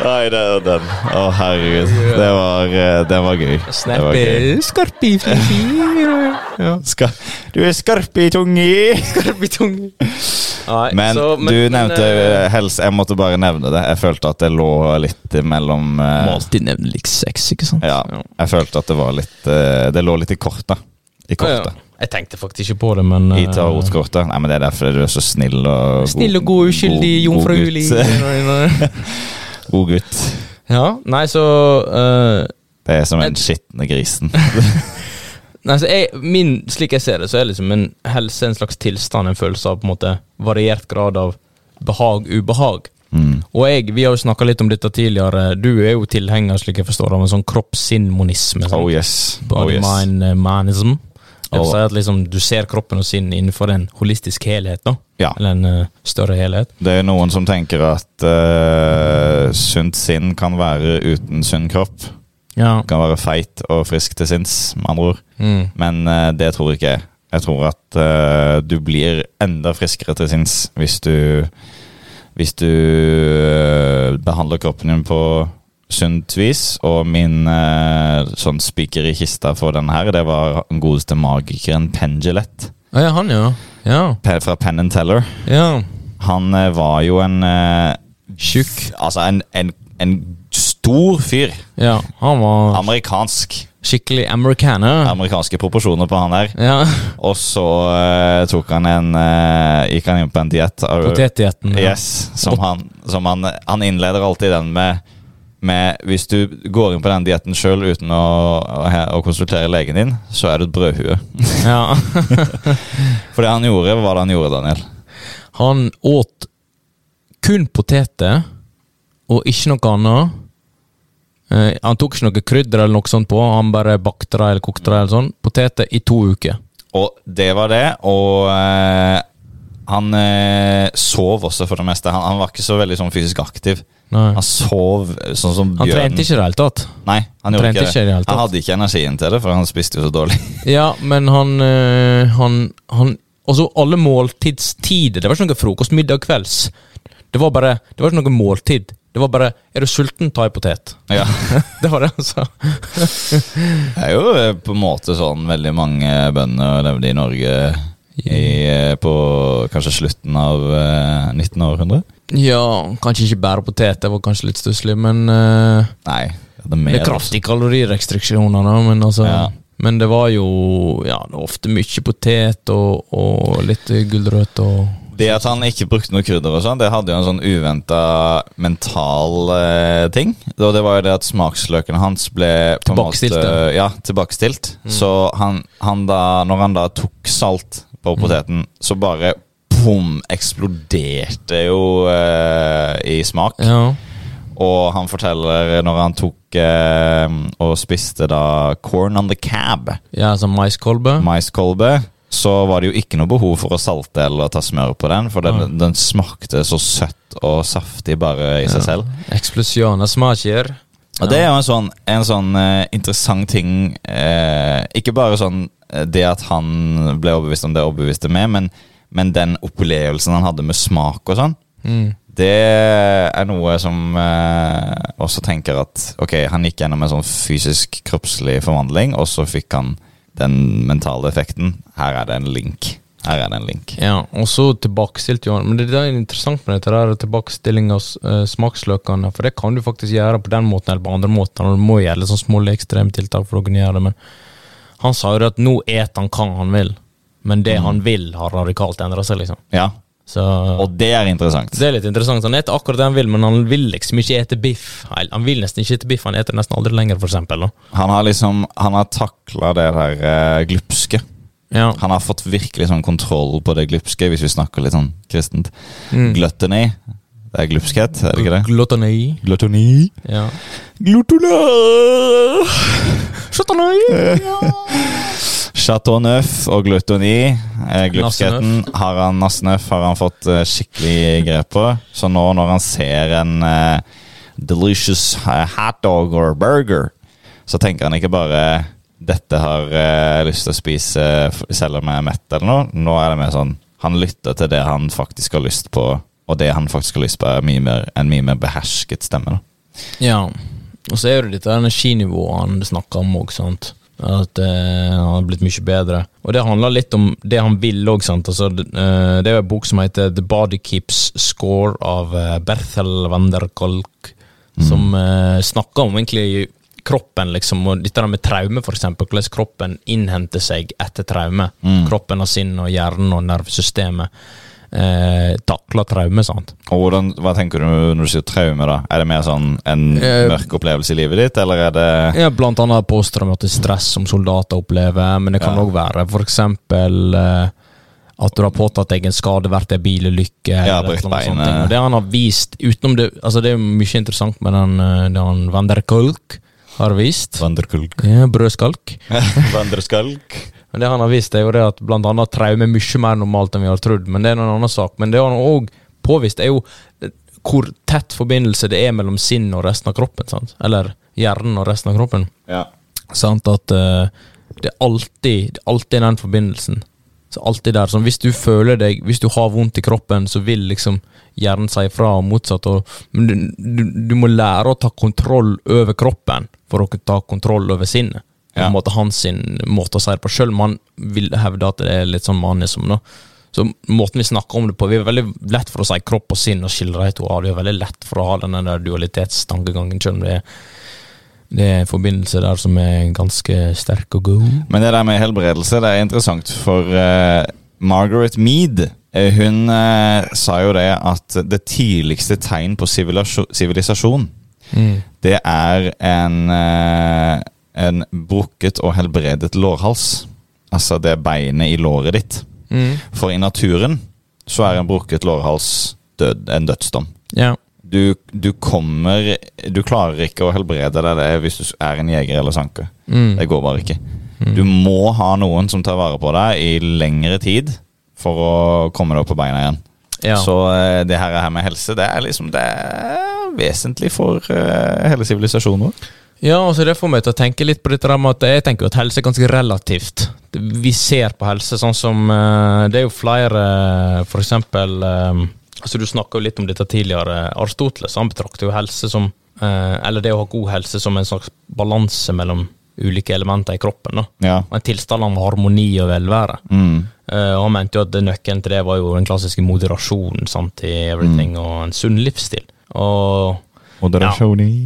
B: Nei, det er den. Å, herregud. Det var, eh, det var gøy. Det var gøy.
A: Snappe skarpe i ja.
B: Ska- Du er skarp i tunga!
A: Skarpe tunge. Nei,
B: Men
A: så,
B: du
A: men,
B: nevnte
A: eh,
B: eh, helse. Jeg måtte bare nevne det. Jeg følte at det lå litt mellom eh,
A: Må alltid nevne lik sex, ikke sant?
B: Ja. Jeg følte at det var litt eh, Det lå litt i kortet. I kortet.
A: Jeg tenkte faktisk ikke på det, men
B: I
A: eh,
B: tarotkortet. Nei, men det er derfor du er så snill og
A: Snill og god, uskyldig, jomfruelig
B: God gutt. God gutt.
A: Ja, nei, så eh,
B: Det er som
A: Men-
B: den skitne grisen.
A: Nei, så jeg, min, Slik jeg ser det, så er liksom en helse en slags tilstand, en følelse av på en måte variert grad av behag, ubehag.
B: Mm.
A: Og jeg, vi har jo snakka litt om dette tidligere. Du er jo tilhenger, slik jeg forstår, av en sånn kropp-sinn-monisme. sant?
B: Oh yes. Oh,
A: Body
B: yes. Oh.
A: mind eh, manism. Det vil
B: Og-
A: si at liksom, du ser kroppen og sinnet innenfor en holistisk helhet, da.
B: Ja.
A: Eller en eh, større helhet.
B: Det er noen som tenker at eh, sunt sinn kan være uten sunn kropp.
A: Ja.
B: Kan være feit og frisk til sinns, med andre ord.
A: Mm.
B: Men eh, det tror ikke jeg. Jeg tror at eh, du blir enda friskere til sinns hvis du Hvis du eh, behandler kroppen din på sunt vis. Og min eh, sånn spiker i kista for denne her, det var den godeste magikeren Pengelett
A: Ah, ja, han, ja. Ja.
B: Pe- fra Penn and Teller.
A: ja.
B: Han eh, var jo en eh,
A: Tjukk.
B: Altså en, en, en stor fyr.
A: Ja, han var
B: Amerikansk.
A: skikkelig americaner.
B: Amerikanske proporsjoner på han der.
A: Ja.
B: Og så eh, tok han en eh, Gikk han inn på en diett. av-
A: Potetdietten. ja.
B: Yes, som han, som han Han innleder alltid den med med Hvis du går inn på den dietten sjøl uten å, å- å konsultere legen din, så er du et brødhue.
A: Ja.
B: For det han gjorde, hva var det han gjorde, Daniel?
A: Han åt kun poteter og ikke noe annet. Eh, han tok ikke noe krydder eller noe sånt på, han bare bakte det eller kokte det eller sånn. Poteter i to uker.
B: Og det var det, og eh, han eh, sov også for det meste. Han, han var ikke så veldig sånn fysisk aktiv.
A: Nei.
B: Han sov sånn som
A: Han
B: bjørnen.
A: trente ikke i det hele tatt.
B: Nei, han, gjorde
A: trente
B: ikke
A: ikke i det
B: det.
A: hele tatt.
B: han hadde ikke energien til det, for han spiste jo så dårlig.
A: Ja, men han eh, Han, han Altså, alle måltidstider Det var ikke noe frokost, middag, kvelds. Det var bare Det var ikke noe måltid. Det var bare Er du sulten, ta en potet.
B: ja.
A: Det var det, altså.
B: Det er jo eh, på en måte sånn veldig mange bønder levde i Norge i, eh, på kanskje slutten av eh, 19. århundre.
A: Ja, kanskje ikke bare potet, det var kanskje litt stusslig, men eh,
B: Nei, det er mer.
A: Det er kraftige kalorirestriksjoner, da, men altså
B: Ja.
A: Men det var jo ja, det var ofte mye potet og, og litt gulrøtt og
B: Det at han ikke brukte noe krydder, og sånn, det hadde jo en sånn uventa mental eh, ting. Og det var jo det at smaksløkene hans ble på en
A: Tilbakestilt,
B: måte- Ja, tilbakestilt. Så han, han da, når han da tok salt på poteten, så bare pum, eksploderte jo eh, i smak.
A: Ja.
B: Og han forteller når han tok eh, og spiste da corn on the cab,
A: ja sånn maiskolbe.
B: maiskolbe, så var det jo ikke noe behov for å salte eller ta smør på den, for den, den smakte så søtt og saftig bare i seg selv.
A: Eksplosjoner smaker.
B: Og det er jo en sånn, en sånn eh, interessant ting eh, Ikke bare sånn eh, det at han ble overbevist om det overbeviste meg, men, men den opplevelsen han hadde med smak og sånn,
A: Mm.
B: det er noe som eh, også tenker at ok, han gikk gjennom en sånn fysisk, kroppslig forvandling, og så fikk han den mentale effekten. Her er det en link. Her er det en link.
A: Ja, og så tilbakestilte jo han. Men det der er interessant med dette der tilbakestilling av eh, smaksløkene, for det kan du faktisk gjøre på den måten eller på andre måter, og du må gjøre litt sånn små ekstremtiltak for å kunne gjøre det, men han sa jo det at nå et han hva han vil, men det han vil har radikalt endra seg, liksom.
B: Ja,
A: Så
B: og det er interessant.
A: det er litt interessant. Han eter akkurat det han vil, men han vil liksom ikke ete biff. Nei, Han vil nesten ikke ete biff, han eter nesten aldri lenger, for eksempel. Da.
B: Han har liksom, han har takla det der eh, glupske.
A: Ja.
B: Han har fått virkelig sånn kontroll på det glupske, hvis vi snakker litt sånn kristent.
A: Mm.
B: Gluttony. Det er glupskhet, er det ikke det?
A: Gluttoni.
B: Gluttony.
A: Ja.
B: Glutona!
A: Gluttoni!
B: Chateau Neuf og gluttoni. Eh, glupskheten har han Nassenøff har han fått eh, skikkelig grep på. Så nå når han ser en eh, delicious eh, hotdog or burger, så tenker han ikke bare dette har eh, jeg lyst til å spise f- selv om jeg er mett eller noe. Nå er det mer sånn han lytter til det han faktisk har lyst på, og det han faktisk har lyst på, er mye mer, en mye mer behersket stemme. da.
A: Ja, og så er det dette energinivået han snakker om òg, sant. At eh, han har blitt mye bedre. Og det handler litt om det han vil òg, sant. Altså, det, eh, det er jo en bok som heter The Body Keeps Score av eh, Berthel van der Kolk, som eh, snakker om egentlig kroppen, liksom, og dette der med traume, for eksempel. Hvordan kroppen innhenter seg etter traume. Kroppen og sinnet og hjernen og nervesystemet eh, takler traume, sant.
B: Og hvordan, Hva tenker du når du sier traume? da? Er det mer sånn en
A: Eh,
B: mørk opplevelse i livet ditt, eller er det
A: Ja, blant annet posttraumatisk stress som soldater opplever, men det kan
B: Ja.
A: òg være for eksempel eh, at du har påtatt deg en skade, vært i en bilulykke
B: Ja,
A: eller et
B: brukt
A: eller annet sånt.
B: beinet.
A: Og Det han har vist utenom det altså Det er jo mye interessant med den, eh, det han Van der Kolk har vist.
B: Vanderkulk.
A: Ja, Brødskalk.
B: Vanderskalk.
A: Men det han har vist, er jo det at blant annet traume er mye mer normalt enn vi har trodd. Men det er en annen sak. Men det han òg påvist, er jo eh, hvor tett forbindelse det er mellom sinn og resten av kroppen. sant? Eller hjernen og resten av kroppen.
B: Ja.
A: Sant at eh, det er alltid, det er alltid den forbindelsen. Så alltid der, sånn, Hvis du føler deg Hvis du har vondt i kroppen, så vil liksom hjernen si ifra og motsatt. Og, men du, du, du må lære å ta kontroll over kroppen for å kunne ta kontroll over sinnet. På
B: Ja.
A: en måte hans sin måte å si det på, sjøl om han vil hevde at det er litt sånn manism. Da. Så måten vi snakker om det på Vi er veldig lett for å si kropp og sinn og skille de to av. Det er veldig lett for å ha den der dualitetstankegangen, sjøl om det er det er en forbindelse der som er ganske sterk og god.
B: Men det der med helbredelse, det er interessant, for eh, Margaret Mead eh, hun eh, sa jo det at det tidligste tegn på sivilasjo- sivilisasjon, det er en, eh, en brukket og helbredet lårhals. Altså det beinet i låret ditt. For i naturen så er en brukket lårhals død, en dødsdom.
A: Ja.
B: du, du kommer Du klarer ikke å helbrede deg det hvis du er en jeger eller sanker.
A: Mm.
B: Det går bare ikke. Du må ha noen som tar vare på deg i lengre tid for å komme deg opp på beina igjen.
A: ja.
B: Så eh, det her, her med helse, det er liksom Det er vesentlig for eh, hele sivilisasjonen vår.
A: ja, og så det får meg til å tenke litt på dette der med at jeg tenker jo at helse er ganske relativt. Vi ser på helse sånn som eh, Det er jo flere, eh, for eksempel eh, altså Du snakka jo litt om dette tidligere. Aristoteles han betrakter jo helse som eh, Eller det å ha god helse som en slags balanse mellom ulike elementer i kroppen. da.
B: Ja.
A: En tilstand av harmoni og velvære.
B: Mm.
A: Eh, og han mente jo at nøkkelen til det var jo den klassiske moderasjonen sant, i everything, og en sunn livsstil. Og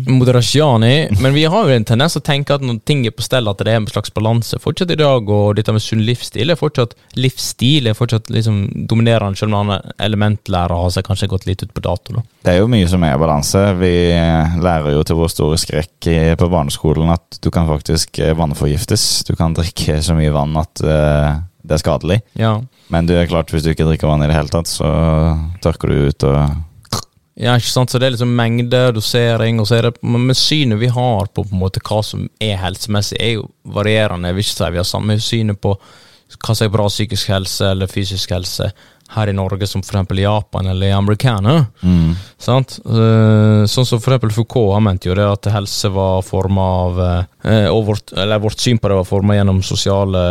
A: moderasjon i Men vi har jo en tendens til å tenke at når ting er på stell, at det er en slags balanse fortsatt i dag, og dette med sunn livsstil er fortsatt livsstil, er fortsatt liksom dominerende, selv om han elementlærer har seg kanskje gått litt ut på dato, da.
B: Det er jo mye som er balanse. Vi eh, lærer jo til vår store skrekk i- på barneskolen at du kan faktisk eh, vannforgiftes. Du kan drikke så mye vann at eh, det er skadelig.
A: Ja.
B: Men det er klart, hvis du ikke drikker vann i det hele tatt, så tørker du ut og
A: Ja, ikke sant? Så det er liksom mengde, dosering, og så er det Men men synet vi har på, på en måte hva som er helsemessig, er jo varierende. Jeg vil ikke si vi har samme synet på hva som er bra psykisk helse eller fysisk helse her i Norge som for eksempel i Japan eller i amerikaner. Sant? Eh, Sånn som for eksempel Foucault, han mente jo det at helse var forma av eh, Og vårt, eller vårt syn på det var forma gjennom sosiale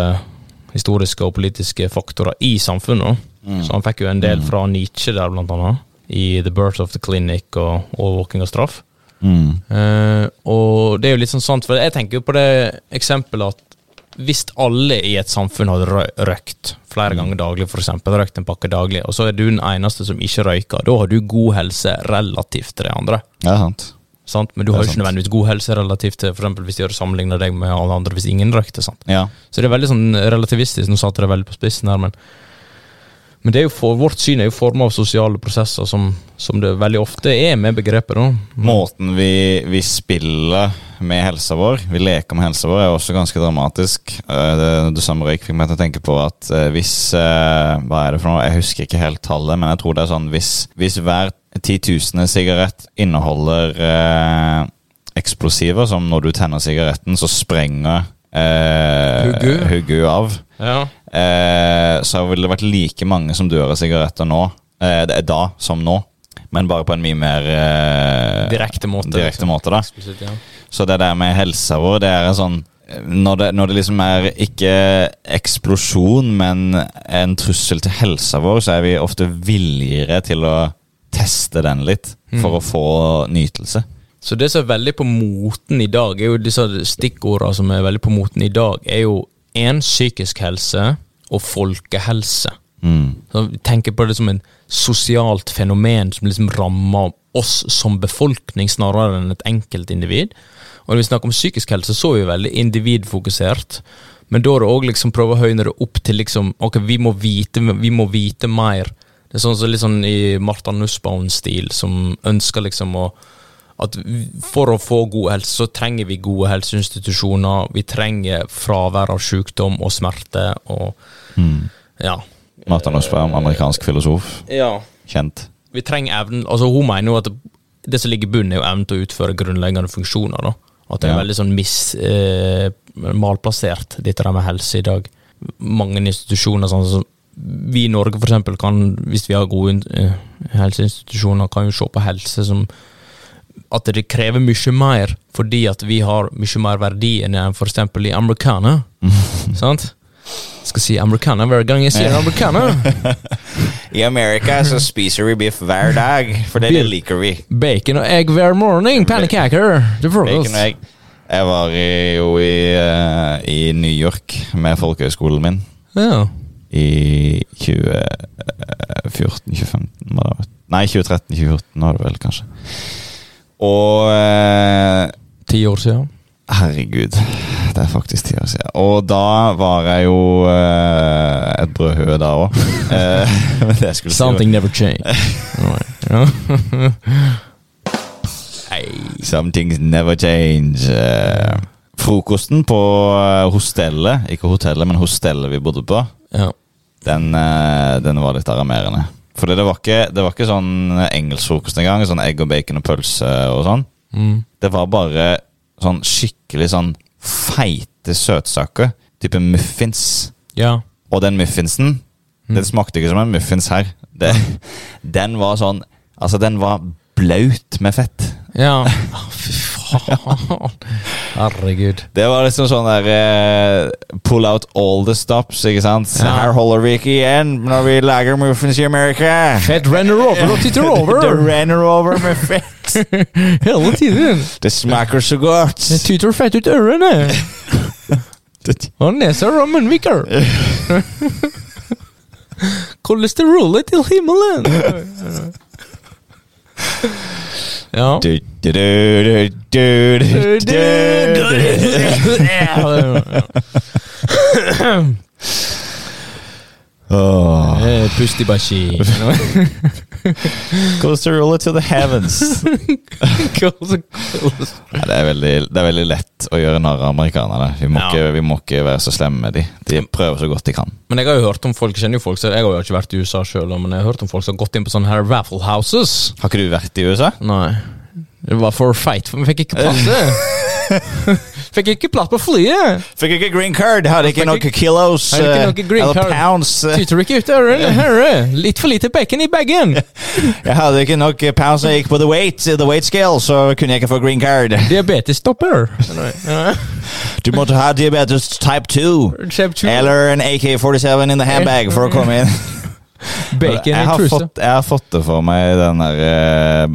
A: historiske og politiske faktorer i samfunnet. Så han fikk jo en del fra Nietzsche der, blant annet. I The Birth of the Clinic og Overvåking av straff. Eh, og det er jo litt sånn sant, for jeg tenker jo på det eksempelet at hvis alle i et samfunn hadde rø- røykt flere
B: Mm.
A: ganger daglig, for eksempel, røykt en pakke daglig, og så er du den eneste som ikke røyker, da har du god helse relativt til de andre.
B: Ja, sant.
A: Sant? Men du har
B: Det
A: jo
B: er
A: ikke
B: sant.
A: nødvendigvis god helse relativt til for eksempel hvis de hadde sammenligna deg med alle andre hvis ingen røykte. sant?
B: Ja.
A: Så det er veldig sånn relativistisk. Nå satte jeg det veldig på spissen her, men men det er jo for, vårt syn er jo forma av sosiale prosesser, som, som det veldig ofte er med begrepet. da.
B: Måten vi, vi spiller med helsa vår, vi leker med helsa vår, er også ganske dramatisk. Eh, Det, det samme røyk fikk meg til å tenke på at eh, hvis eh, Hva er det for noe? Jeg husker ikke helt tallet, men jeg tror det er sånn hvis, hvis hver titusende sigarett inneholder eh, eksplosiver, som når du tenner sigaretten, så sprenger eh,
A: Huggu.
B: huggu av.
A: Ja.
B: Eh, så ville det vært like mange som dør av sigaretter nå, eh, det er da som nå. Men bare på en mye mer eh,
A: Direkte måte,
B: direkte
A: liksom.
B: måte da.
A: Eksplisitt, ja.
B: Så det der med helsa vår, det er en sånn eh, når det, når det liksom er ikke eksplosjon, men en trussel til helsa vår, så er vi ofte villigere til å teste den litt for å få nytelse.
A: Så det som er veldig på moten i dag, er jo disse stikkordene som er veldig på moten i dag, er jo én psykisk helse og folkehelse. Så vi tenker på det som en sosialt fenomen som liksom rammer oss som befolkning snarere enn et enkeltindivid. Og når vi snakker om psykisk helse, så er vi veldig individfokusert. Men da er det òg liksom prøve å høyne det opp til liksom Ok, vi må vite, vi må vite mer. Det er sånn som litt sånn i Martha Nussbaum-stil, som ønsker liksom å at vi- for å få god helse, så trenger vi gode helseinstitusjoner. Vi trenger fravær av sykdom og smerte og Ja.
B: Martha Nussbaum, amerikansk filosof,
A: ja.
B: kjent.
A: Vi trenger evnen Altså, hun mener jo at det som ligger i bunnen, er jo evnen til å utføre grunnleggende funksjoner, da. At det er
B: Ja.
A: veldig sånn mis... Eh, malplassert, dette der med helse i dag. Mange institusjoner sånn som vi i Norge, for eksempel, kan, hvis vi har gode eh, helseinstitusjoner, kan jo se på helse som at det krever mye mer fordi at vi har mye mer verdi enn jeg for eksempel i amerikaner. Sant? Skal si amerikaner hver gang jeg sier amerikaner.
B: I Amerika så spiser vi biff hver dag, for
A: det
B: liker vi.
A: Bacon og egg hver morgen, pannekaker til frokost.
B: Bacon og egg. Jeg var i, jo i, eh, i New York med folkehøyskolen min
A: Ja.
B: i eh, 2014-2015. Nei, 2013-2014 var det vel, kanskje. Og eh,
A: Ti år siden.
B: Herregud, det er faktisk ti år siden. Og da var jeg jo eh, et brødhue da Eh, òg.
A: Something never changed. Alright. Ja.
B: Some things never change. Eh, Frokosten på eh, hostellet, ikke hotellet, men hostellet vi bodde på,
A: ja.
B: den, eh, den var litt aramerende. Fordi det var ikke, det var ikke sånn engelsk frokost engang. Sånn egg og bacon og pølse og sånn.
A: Mm.
B: Det var bare sånn skikkelig sånn feite søtsaker. Type muffins.
A: ja.
B: Og den muffinsen, den smakte ikke som en muffins her. Det, den var sånn Altså, den var blaut med fett.
A: Ja. Å, Fy faen. Herregud.
B: Det var liksom sånn der eh, Pull out all the stops, ikke sant?
A: Ja.
B: Her holder vi ikke igjen når vi lager muffins i Amerika.
A: Fett renner over og titter
B: Det
A: over
B: renner over med fett.
A: hele tiden.
B: Det smaker så godt.
A: Det tyter fett ut ørene. Og nesa rammen viker. Kolesterolet til himmelen. Ja.
B: Du, du, du, du, du, du, du. Åh.
A: Eh, Pust i bashi.
B: Colesterol to the heavens. Ja, det, er veldig, det er veldig lett å gjøre narr av amerikanerne. Vi må,
A: Ja.
B: ikke, vi må ikke være så slemme med dem. De prøver så godt de kan.
A: Men jeg har jo hørt om folk, jeg kjenner jo folk, så jeg har jo ikke vært i USA sjøl, men jeg har hørt om folk som har gått inn på sånne her raffle houses.
B: Har ikke du vært i USA?
A: Nei. Det var for fight, for vi fikk ikke plass. fikk ikke plass på flyet!
B: Fikk ikke green card, hadde ikke
A: Fikk
B: noen
A: ikke-
B: kilos
A: Hadde ikke noen
B: eh,
A: green
B: eller
A: card.
B: pounds. eh.
A: Tyter ikke ut, hører du? Hører du? Litt for lite bacon i bagen!
B: Jeg hadde ikke nok eh, pounds når jeg gikk på the weight, the weight scale, så kunne jeg ikke få green card.
A: Diabetesstopper.
B: Du måtte ha diabetes type 2.
A: Kjøp to
B: Eller en AK-47 in the handbag for å komme inn.
A: bacon
B: jeg,
A: i
B: har
A: trusa.
B: fått, jeg har fått det for meg, den der eh, eh,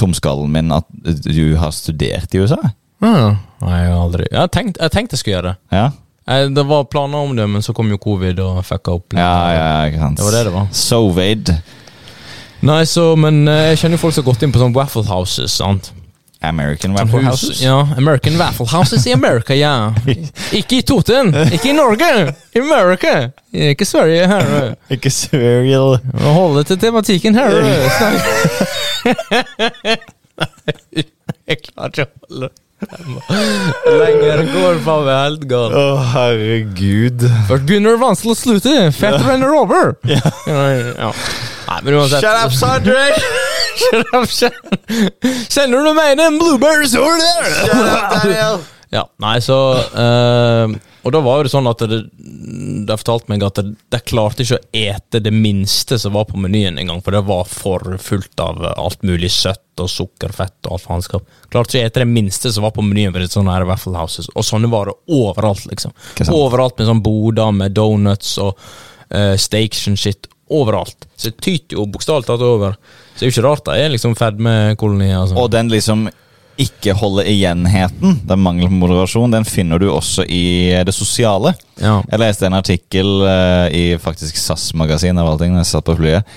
B: tomskallen min, at du har studert i USA.
A: Ah, Nei, jeg har aldri Jeg tenkte jeg, tenkte jeg skulle gjøre det.
B: Ja,
A: Eh, Det var planer om det, men så kom jo covid og fucka opp. litt.
B: ja, ja, ja ikke sant.
A: Det var det det var.
B: Sovaid.
A: Nei, så, men eh, jeg kjenner jo folk som har gått inn på sånne Waffle Houses. sant?
B: American
A: Sånn
B: Waffle
A: hus-
B: Houses.
A: Ja, American Waffle Houses i Amerika, ja. Ikke i Toten, ikke i Norge, i Amerika. Ikke Sverige, herre.
B: Ikke serial.
A: Må holde til tematikken, herre. Snakk. Jeg klarer ikke å holde Lenger går faen meg helt
B: Å,
A: galt.
B: herregud.
A: Først begynner det vanskelig å slutte. Fat renner over. Ja. ja. Nei, men uansett.
B: Sondre!
A: Shut up, shut- Kjenner du meg den blueberries over there? Ja, nei, så eh, Og da var jo det sånn at det, det fortalte meg at det- de klarte ikke å ete det minste som var på menyen engang, for det var for fullt av alt mulig søtt og sukkerfett og alt faenskap. Klarte ikke å ete det minste som var på menyen ved sånne her Waffle Houses, og sånne var det overalt, liksom.
B: Ikke sant.
A: Overalt med sånn boder med donuts og uh, steaks and shit. Overalt. Så det tyter jo bokstavelig talt over. Så det er jo ikke rart de er liksom fedmekolonier. Altså.
B: Og den liksom ikke holde igjenheten, den mangelen på moderasjon, den finner du også i det sosiale.
A: Ja.
B: Jeg leste en artikkel eh, i faktisk SAS-magasin av alle ting, når jeg satt på flyet.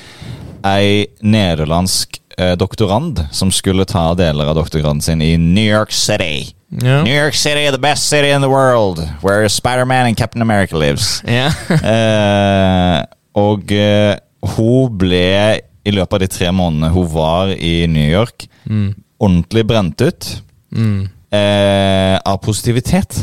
B: Ei nederlandsk eh, doktorand som skulle ta deler av doktorgraden sin i New York City.
A: Ja.
B: New York City, the best city in the world, where Spider-Man and Captain America lives.
A: Ja.
B: Eh, og eh, hun ble, i løpet av de tre månedene hun var i New York, ordentlig brent ut eh, av positivitet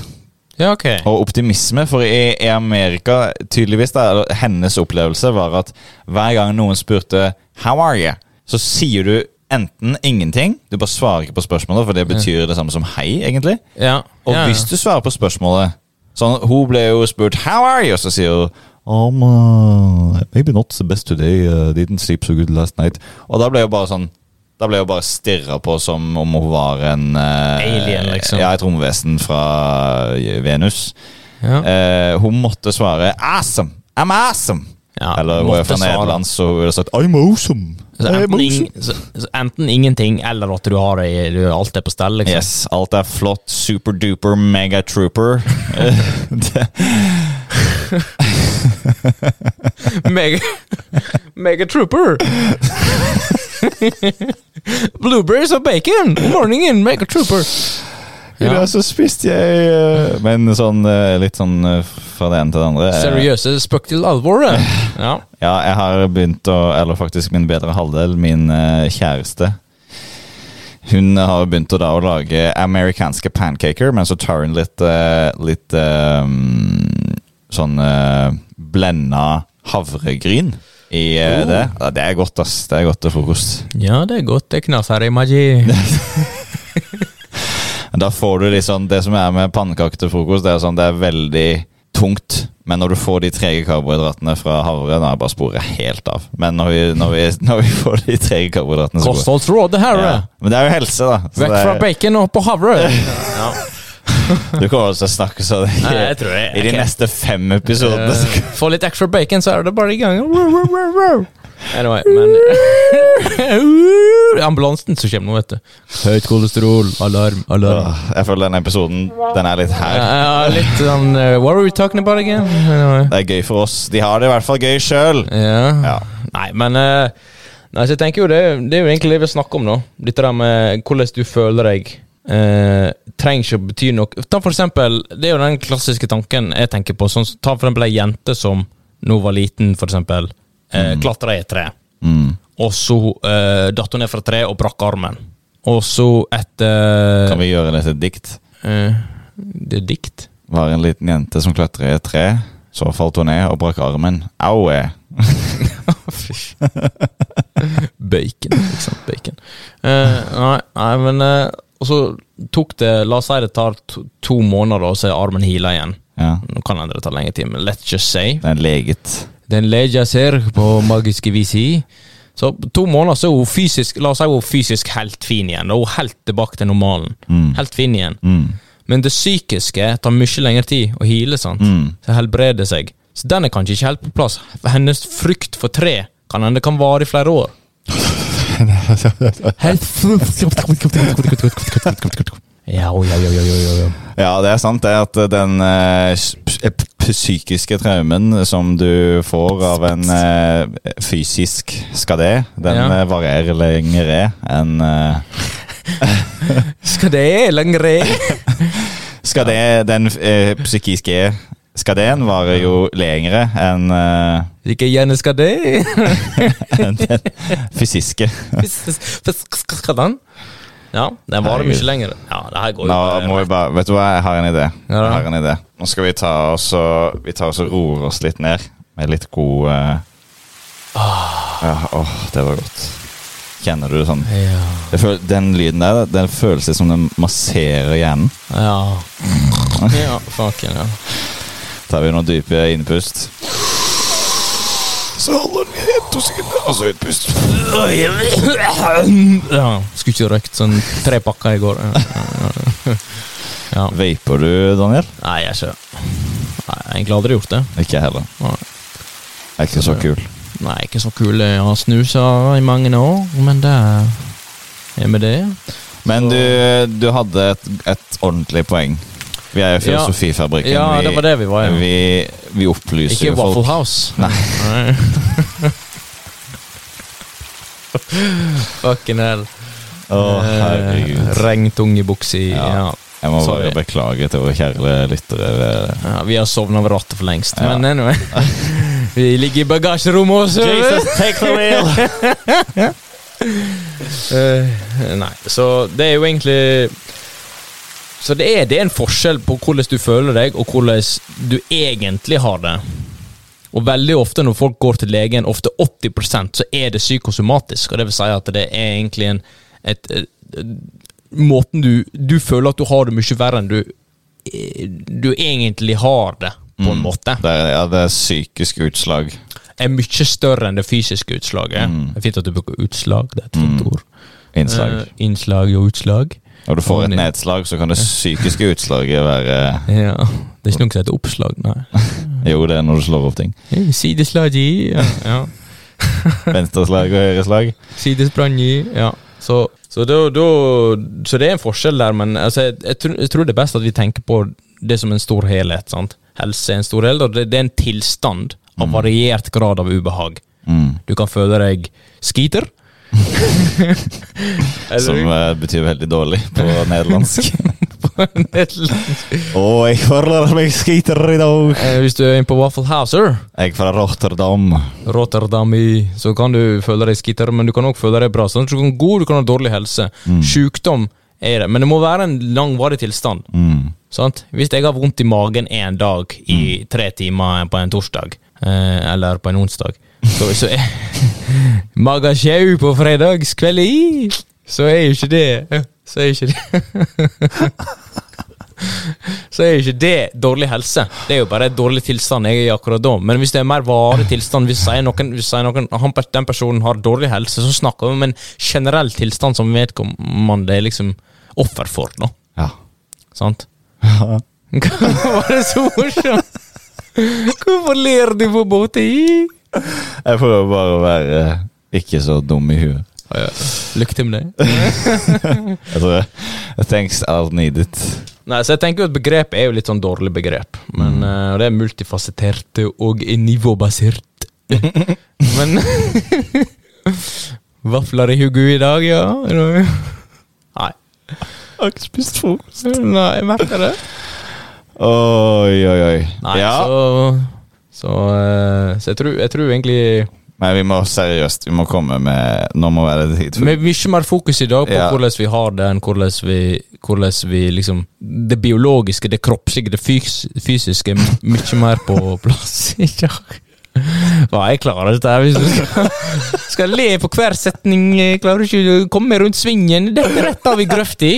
A: ja, ok.
B: og optimisme. For i, i Amerika, tydeligvis, da, eller hennes opplevelse var at hver gang noen spurte 'How are you?', så sier du enten ingenting, du bare svarer ikke på spørsmålet, for det betyr det samme som hei, egentlig.
A: Ja.
B: Og
A: ja.
B: hvis du svarer på spørsmålet sånn, Hun ble jo spurt 'How are you?' Og så sier hun um, uh, 'Maybe not the best today. Uh, didn't sleep so good last night.' Og da ble jeg jo bare sånn da ble jeg jo bare stirra på som om hun var en eh,
A: Alien, liksom.
B: Ja, et romvesen fra eh, Venus.
A: Ja.
B: Eh, hun måtte svare 'Awesome! I'm awesome!'
A: Ja,
B: Eller hun er
A: måtte
B: fra
A: svare.
B: Nederland, så hun ville sagt 'I'm awesome'.
A: Så
B: I'm
A: enten,
B: awesome.
A: ing- så, så enten ingenting, eller at du har det, i- du, alt er på stell, liksom.
B: Yes, alt er flott, superduper, megatrooper.
A: Mega, Megatrooper! Blueberries og bacon om morgenen, Megatrooper!
B: I
A: Ja.
B: dag så spiste jeg eh, Men sånn eh, litt sånn eh, fra det ene til det andre. eh,
A: Seriøse spøk til alvoret. Ja.
B: Ja, jeg har begynt å Eller faktisk min bedre halvdel, min eh, kjæreste. Hun har begynt å da å lage amerikanske pancaker, men så tar hun litt eh, Litt eh, sånn eh, blenda havregryn i eh, det. Ja, det er godt, ass. Det er godt til frokost.
A: ja, det er godt. Det knas her i Maji.
B: Men Da får du liksom Det som er med pannekaker til frokost, det er sånn det er veldig tungt. Men når du får de trege karbohydratene fra havre, da er bare sporet helt av. Men når vi, når vi, når vi får de trege karbohydratene så går-
A: Kostholdsrådet her,
B: ja.
A: da.
B: Men det er jo helse, da. Så
A: Vekk
B: det
A: fra
B: er,
A: bacon og på havre. Ja.
B: du kommer også til å snakke sånn i,
A: Nei, jeg tror jeg-
B: i de
A: ok.
B: neste fem episodene.
A: Eh, Få litt ekstra bacon, så er det bare i gang. Anyway, men Ambulansen som kommer nå, vet du. Høyt kolesterol, alarm, alarm.
B: Åh, Jeg føler denne episoden Den er litt her.
A: Eh. Ja, ja, litt sånn eh, What are we talking about again? Anyway.
B: Det er gøy for oss. De har det i hvert fall gøy sjøl.
A: Ja.
B: Ja.
A: Nei, men eh, Nei, så jeg tenker jo det, det er jo egentlig det vi snakker om, da. Dette der med hvordan du føler deg. eh, trenger ikke å bety noe. Ta for eksempel, Det er jo den klassiske tanken jeg tenker på. Sånn, ta for eksempel ei jente som nå var liten, for eksempel. Uh,
B: Mm.
A: Klatra i et tre. Og så uh, datt hun ned fra treet og brakk armen. Og så etter
B: Kan vi gjøre det til et dikt?
A: eh, Det er dikt?
B: var en liten jente som klatret i et tre. Så falt hun ned og brakk armen. Au! eh.
A: Bacon, ikke sant. Bacon. Eh, nei, nei, men eh, Og så tok det La oss si det tar to, to måneder, og så er armen heala igjen.
B: Ja.
A: Nå kan det ta lengre tid, men let's just say.
B: Det er leget.
A: Den leger ser på magiske vis i. Så på to måneder så er hun fysisk La oss si hun er fysisk helt fin igjen. Da er hun helt tilbake til normalen. Helt fin igjen. Men det psykiske tar mye lengre tid å heale, sant. Så helbrede seg. Så den er kanskje ikke helt på plass. Hennes frykt for tre kan hende kan vare i flere år. Ja, ja, ja, ja, ja, ja.
B: Ja, det er sant det at den eh, s- p- psykiske traumen som du får av en eh, fysisk skade, den
A: Ja.
B: eh, varierer lengre enn eh,
A: Skal det lengre?
B: Skade, Den eh, psykiske skaden varer jo lengre enn eh,
A: Ikke gjerne skal det?
B: enn den fysiske.
A: Skal den? Ja, den varer mye
B: Herregud.
A: lenger. Ja, det her går
B: Nå må
A: jo
B: vi bare Vet du hva, jeg har en idé.
A: Ja da.
B: Jeg har en idé. Nå skal vi ta oss og Vi tar oss og roer oss litt ned med litt god eh,
A: Ah.
B: ja, Åh, det var godt. Kjenner du det sånn?
A: Ja.
B: Det føl, den lyden der, den føles litt som den masserer hjernen.
A: Ja. Ja, fucking ja.
B: Tar vi noen dype innpust. Så holder den i to sekunder, og så utpust.
A: ja. Skulle ikke røykt sånn tre pakker i går. Ja, ja, ja. Ja.
B: Vaper du, Daniel?
A: Nei, jeg er ikke Nei, jeg har egentlig aldri gjort det.
B: Ikke jeg heller.
A: Nei.
B: Jeg er ikke så kul.
A: Nei, ikke så kul. Jeg har snusa i mange år, men det er med det.
B: Men du, du hadde et, et ordentlig poeng. Vi er jo
A: Ja.
B: Filosofifabrikken.
A: Ja,
B: vi,
A: det var det vi var, ja.
B: Vi, vi opplyser
A: Ikke
B: jo folk.
A: Waffle House.
B: Nei.
A: Fucking hell.
B: Å,
A: eh,
B: herregud.
A: Regntungebukse i
B: Ja.
A: ja.
B: Jeg må
A: Sorry.
B: bare beklage til våre kjære lyttere.
A: ja. Vi har sovna ved rattet for lengst,
B: Ja.
A: men anyway. Vi ligger i bagasjerommet også.
B: take the wheel!
A: Eh, nei, så det er jo egentlig Så det er, det er en forskjell på hvordan du føler deg, og hvordan du egentlig har det. Og veldig ofte når folk går til legen, ofte 80 så er det psykosomatisk. Og det vil si at det er egentlig en et, eh, Måten du Du føler at du har det mye verre enn du eh, Du egentlig har det, på en måte
B: Mm. Det er, ja, det er psykisk utslag.
A: er mye større enn det fysiske utslaget.
B: Mm.
A: Det er fint at du bruker utslag, det er et fint ord.
B: Innslag.
A: Eh, innslag og utslag.
B: Når du får et
A: Ordentlig.
B: nedslag, så kan det psykiske utslaget være
A: Ja. Det er ikke noe som heter oppslag, nei.
B: Jo, det er når du slår opp ting.
A: Eh, Sideslag i, ja. ja.
B: Venstreslag og høyreslag.
A: Sidesprang i, ja. Så, så, da, da, så det er en forskjell der, men altså, jeg, jeg, tror- jeg tror det er best at vi tenker på det som en stor helhet. sant? Helse er en stor helhet, og det, det er en tilstand
B: Mm.
A: av variert grad av ubehag. Du kan føle deg skiter.
B: Som eh, betyr veldig dårlig på nederlandsk. Å, jeg føler meg skiter i dag!
A: Eh, Hvis du er inne på Waffle Houser,
B: Jeg er fra Rotterdam.
A: Rotterdam i, så kan du føle deg skitter, men du kan òg føle deg bra. Sånn at du kan ha god, du kan ha dårlig helse.
B: Mm.
A: Sjukdom er det, men det må være en langvarig tilstand.
B: Mm.
A: Sant? Hvis jeg har vondt i magen en dag i tre timer på en torsdag, eh, eller på en onsdag, så, så er Magasjau på fredagskveld i, så er jo ikke det Så er jo ikke det så er jo ikke det dårlig helse. Det er jo bare dårlig tilstand jeg er i akkurat da. Men hvis det er mer varig tilstand, hvis sier noen, hvis sier noen han, den personen har dårlig helse, så snakker vi om en generell tilstand som vedkommende er liksom offer for. Nå.
B: Ja.
A: Sant? Hva var det så morsomt? Hvorfor ler du på båten i?
B: Jeg prøver bare å være eh, ikke så dum i huet.
A: Lykke til med det.
B: Jeg tror jeg, Thanks are needed.
A: Nei, så jeg tenker jo at Begrep er jo litt sånn dårlig begrep.
B: Mm.
A: Men eh, og Det er multifasettert og nivåbasert. men Vafler i Hugo i dag, ja. Nei.
B: Jeg har ikke spist frokost.
A: Nei, jeg merker det.
B: Oi, oi, oi.
A: Nei,
B: ja,
A: så Så, eh, så jeg, tror, jeg tror egentlig
B: Men vi må seriøst, vi må komme med Nå må være det tid for
A: Med mye mer fokus i dag på
B: Ja.
A: hvordan vi har det, enn hvordan vi, hvordan vi liksom Det biologiske, det kroppslige, det fys fysiske mye mer på plass i dag. Hva, jeg klarer dette her hvis du skal, skal le på hver setning. Jeg klarer ikke å komme rundt svingen. Dette er rett av i grøfta.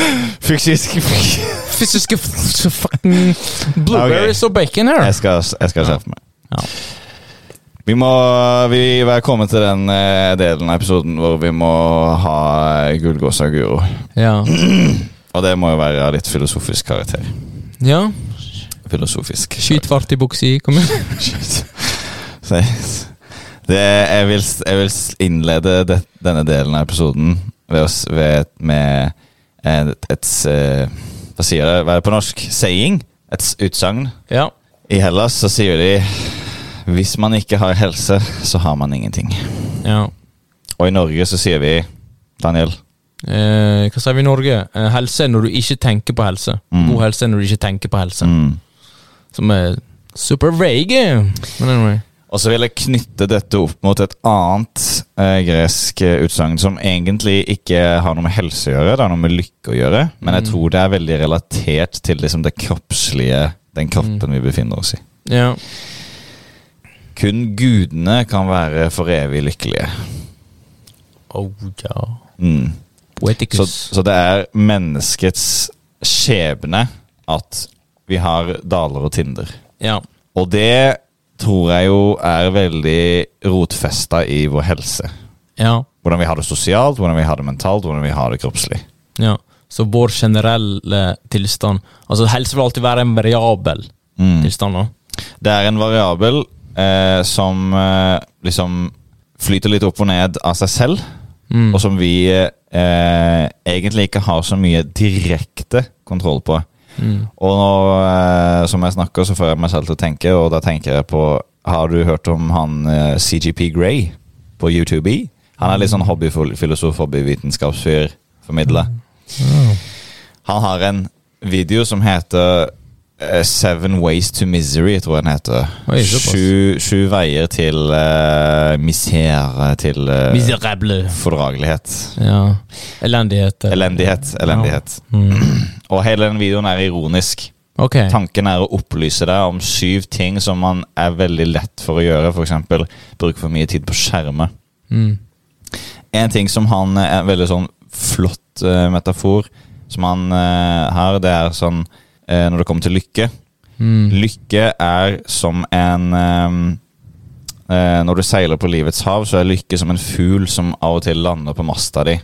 B: Fysisk Jeg
A: Fysiske f- f- fucking blueberries og bacon her.
B: skal, jeg skal skjerpe meg.
A: Ja.
B: Vi må vi er kommet til den eh, delen av episoden hvor vi må ha Gullgåsa Guro.
A: Ja.
B: Og det må jo være av litt filosofisk karakter.
A: ja.
B: Filosofisk.
A: Skyt fart i buksa. Kom igjen.
B: Så jeg- Det, jeg, vil, jeg vil innlede det, denne delen av episoden ved, å s- ved, med et, et, s- eh, Hva sier det? Hva er det på norsk? Saying? Et s- utsagn?
A: Ja.
B: I Hellas så sier de hvis man ikke har helse, så har man ingenting.
A: ja.
B: Og i Norge så sier vi Daniel.
A: Eh, hva sier vi i Norge? Eh, helse når du ikke tenker på helse.
B: Mm.
A: God helse når du ikke tenker på helse.
B: Mm.
A: Som er super vague. Men anyway.
B: Og så vil jeg knytte dette opp mot et annet eh, gresk eh, utsagn som egentlig ikke har noe med helse å gjøre, det har noe med lykke å gjøre, men jeg
A: Mm.
B: tror det er veldig relatert til liksom, det kroppslige, den kroppen vi befinner oss i.
A: Ja.
B: Kun gudene kan være for evig lykkelige.
A: Oh, ja.
B: Mm. Så,
A: Poeticus.
B: så det er menneskets skjebne at vi har daler og tinder.
A: ja.
B: Og det tror jeg jo er veldig rotfesta i vår helse.
A: Ja.
B: Hvordan vi har det sosialt, hvordan vi har det mentalt, hvordan vi har det kroppslig.
A: ja. Så vår generelle tilstand Altså, helse vil alltid være en variabel
B: Mm.
A: tilstand, da.
B: Det er en variabel eh, som eh, liksom flyter litt opp og ned av seg selv, og som vi eh, egentlig ikke har så mye direkte kontroll på. Og nå eh, som jeg snakker, så får jeg meg selv til å tenke, og da tenker jeg på Har du hørt om han eh, CGP Grey på YouTube? Han er litt sånn hobbyfilosof, hobbyvitenskapsfyr, formidler. Han har en video som heter eh, Seven Ways to Misery, tror jeg den heter.
A: Oi, såpass.
B: sju, sju veier til uh, misere, til eh,
A: Miserable.
B: fordragelighet.
A: Ja. Elendighet. eller-
B: Elendighet. Elendighet. Og hele den videoen er ironisk.
A: Ok.
B: Tanken er å opplyse deg om syv ting som man er veldig lett for å gjøre. F.eks. bruke for mye tid på skjermer.
A: Mm.
B: En ting som han eh, er en veldig sånn flott eh, metafor som han eh, har, det er sånn eh, Når det kommer til lykke
A: Mm.
B: Lykke er som en eh, eh, Når du seiler på livets hav, så er lykke som en fugl som av og til lander på masta di.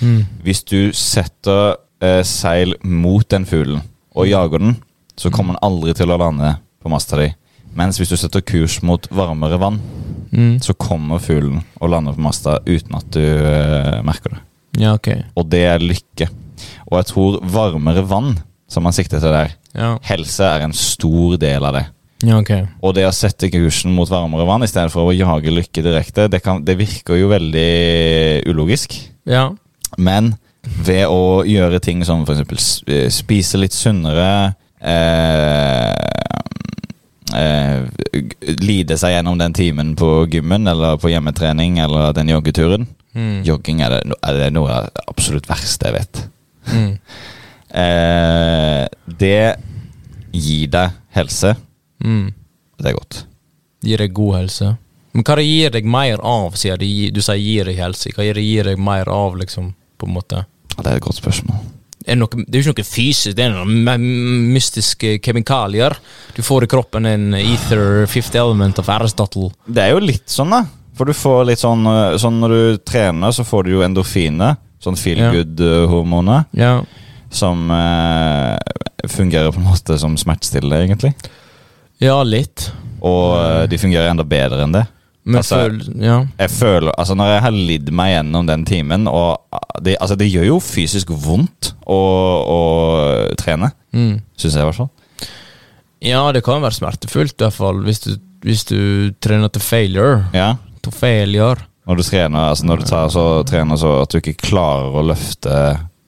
A: Mm.
B: Hvis du setter eh, seil mot den fuglen og jager den, så kommer den aldri til å lande på masta di. Mens hvis du setter kurs mot varmere vann,
A: Mm.
B: så kommer fuglen og lander på masta uten at du eh, merker det.
A: Ja, ok.
B: Og det er lykke. Og jeg tror varmere vann, som man sikter til der,
A: Ja.
B: helse er en stor del av det.
A: ja, ok.
B: Og det å sette kursen mot varmere vann i stedet for å jage lykke direkte, det, kan, det virker jo veldig ulogisk.
A: Ja.
B: Men ved å gjøre ting som for eksempel s- eh, spise litt sunnere eh, eh, g- Lide seg gjennom den timen på gymmen eller på hjemmetrening eller den joggeturen.
A: Mm.
B: Jogging er det, no- er det noe av det absolutt verste jeg vet.
A: Mm.
B: Eh, det gir deg helse.
A: Mm.
B: Det er godt.
A: Gir deg god helse. Men hva det gir deg mer av, sier de, du sier gir deg helse. Hva gir det gir deg mer av, liksom, på en måte?
B: Ja, Det er et godt spørsmål.
A: Er det, noe, det er jo ikke noe fysisk, det er noen me- mystiske kemikalier. Du får i kroppen en ether, fifth element of Aristotle.
B: Det er jo litt sånn, da. For du får litt sånn, eh, sånn Når du trener, så får du jo endorfiner. Sånn feel
A: Ja.
B: good-hormoner.
A: Ja.
B: Som eh, fungerer på en måte som smertestillende, egentlig.
A: Ja, litt.
B: Og eh, de fungerer enda bedre enn det.
A: Men
B: Altså-
A: føl... Ja.
B: Jeg føler, altså Når jeg har lidd meg gjennom den timen og ah, Det, altså, det gjør jo fysisk vondt å, å trene.
A: Mm.
B: Syns jeg, i hvert fall.
A: Ja, det kan være smertefullt, i hvert fall, hvis du, hvis du trener til failure.
B: Ja.
A: Til failure.
B: Når du trener altså når du tar, så trener så at du ikke klarer å løfte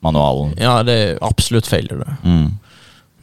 B: manualen.
A: Ja, det er absolutt failure, det.
B: Mm.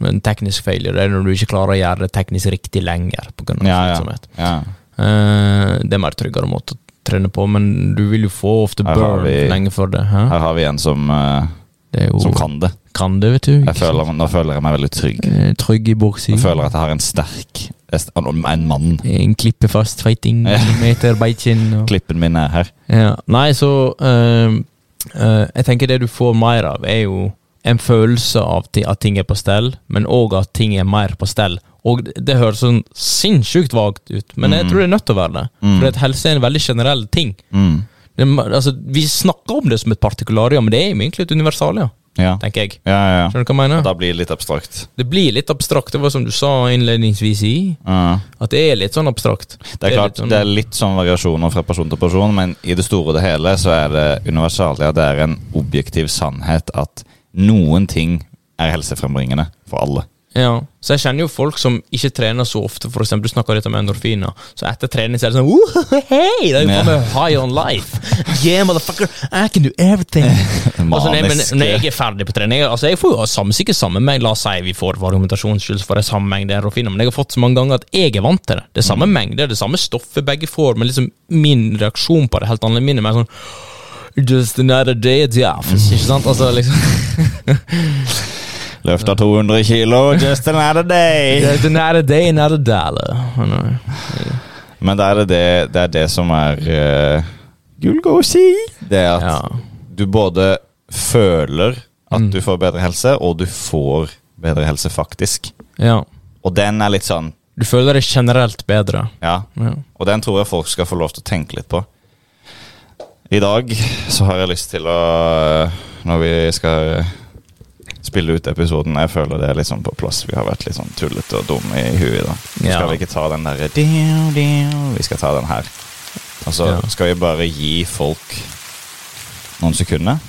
A: Men teknisk failure det er når du ikke klarer å gjøre det teknisk riktig lenger. På grunn av
B: Ja, ja.
A: slitsomhet.
B: ja.
A: Eh, det er mer tryggere måte å trene på, men du vil jo få ofte
B: Her har
A: burn
B: vi-
A: lenge for det. Hæ?
B: Her har vi en som, eh,
A: Det er jo,
B: som kan det.
A: kan det, vet du.
B: Jeg føler, nå føler jeg meg veldig trygg.
A: Eh, Trygg i boksen.
B: Jeg føler at jeg har en sterk Jeg st- En mann.
A: En klippefast fighting,
B: Ja.
A: meterbeitkinn og
B: Klippen min er her.
A: Ja. Nei, så ehm, eh, Jeg tenker det du får mer av, er jo en følelse av ti- at ting er på stell, men òg at ting er mer på stell. Og det, det høres sånn sinnssykt vagt ut, men jeg tror det er nødt til å være det. For at helse er en veldig generell ting.
B: Mm.
A: Det, er ma- altså, vi snakker om det som et partikularium, men det er jo egentlig et universalium,
B: Ja. ja,
A: tenker jeg.
B: ja, ja.
A: Skjønner du hva jeg mener?
B: Da blir det litt abstrakt.
A: Det blir litt abstrakt, det var som du sa innledningsvis i,
B: Ja.
A: at det er litt sånn abstrakt.
B: Det er klart,
A: litt sånn-
B: det er litt sånn variasjoner fra person til person, men i det store og det hele så er det universalia. Det er en objektiv sannhet at noen ting er helsefrembringende for alle.
A: Ja, så jeg kjenner jo folk som ikke trener så ofte, for eksempel, du snakker litt om endorfiner, så etter trening så er det sånn «Woo, Hei, det er jo faen meg high on life! Yeah, motherfucker, I can do everything! altså, nei, men,
B: Manisk.
A: når jeg er ferdig på trening altså, Jeg får jo sam, sikkert samme mengde, la oss si vi får for argumentasjons skyld, så får jeg samme mengde endorfiner, men jeg har fått så mange ganger at jeg er vant til det. Det er samme mengde, det er samme stoffet begge får, men liksom min reaksjon på det er helt annerledes. Min er mer sånn Just another day at the office, ikke sant? Altså, liksom
B: Løfta 200 kilo, just another day!
A: Just another day, another dollar. I know.
B: Men da er det det, det, er det som er uh, Gulgosi! Det er at
A: Ja.
B: du både føler at du får bedre helse, og du får bedre helse faktisk.
A: Ja.
B: Og den er litt sånn
A: Du føler deg generelt bedre.
B: Ja.
A: Ja.
B: Og den tror jeg folk skal få lov til å tenke litt på. I dag så har jeg lyst til å Når vi skal spille ut episoden Jeg føler det er litt sånn på plass. Vi har vært litt sånn tullete og dumme i huet i dag. Så
A: Ja.
B: skal vi ikke ta den derre «diu, diu», Vi skal ta den her. Og så
A: Ja.
B: skal vi bare gi folk noen sekunder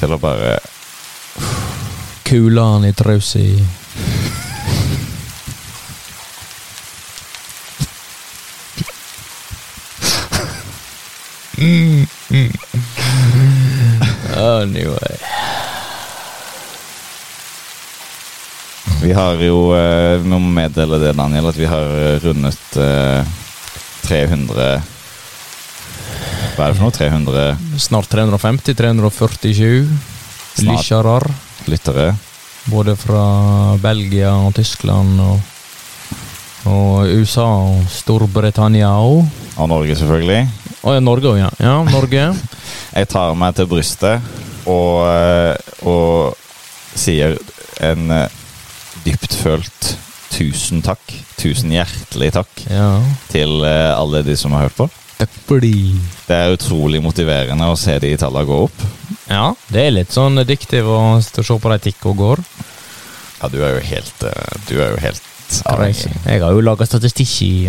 B: til å bare
A: Kula han i trausa i Anyway
B: Vi har jo eh, Vi må meddele det, Daniel, at vi har eh, rundet eh, 300 Hva er det for noe? 300
A: Snart 350, 347
B: Snart.
A: lyttere.
B: lyttere.
A: Både fra Belgia og Tyskland og, og USA og Storbritannia òg.
B: Av Norge, selvfølgelig.
A: Å ja, Norge òg, ja. ja. Norge.
B: Jeg tar meg til brystet og, eh, og sier en eh, dyptfølt tusen takk. Tusen hjertelig takk
A: Ja.
B: til eh, alle de som har hørt på.
A: Takk for det.
B: Det er utrolig motiverende å se de tallene gå opp.
A: Ja, det er litt sånn addictive å sitte og se på de tikke og går.
B: Ja, du er jo helt eh, Du er jo helt avhengig.
A: Jeg har jo laga statistikk i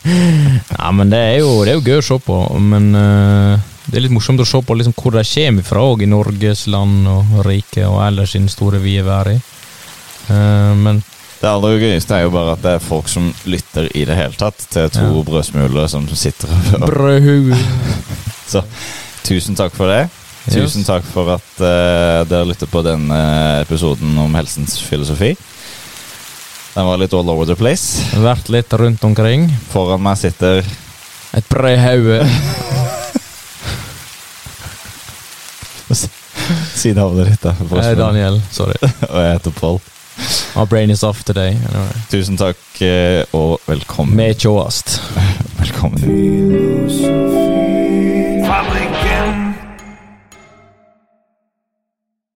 A: Nei, men det er, jo, det er jo gøy å se på, men eh, det er litt morsomt å se på liksom hvor de kommer fra òg, i Norges land og rike og ellers i den store vide verden. Eh, men
B: Det aller gøyeste er jo bare at det er folk som lytter i det hele tatt til to
A: Ja.
B: brødsmuler som sitter og hører.
A: brødhue
B: Så tusen takk for det.
A: Yes.
B: Tusen takk for at eh, dere lytter på denne episoden om helsens filosofi. Den var litt all over the place.
A: Vært litt rundt omkring.
B: Foran meg sitter
A: Et brødhue.
B: sidehavnet ditt. Der,
A: Eh,
B: brødsmuler.
A: Daniel, sorry.
B: og jeg heter Pål.
A: Our brain is off today. Anyway.
B: Tusen takk eh, og velkommen.
A: Vi er tjåast.
B: velkommen.
D: Public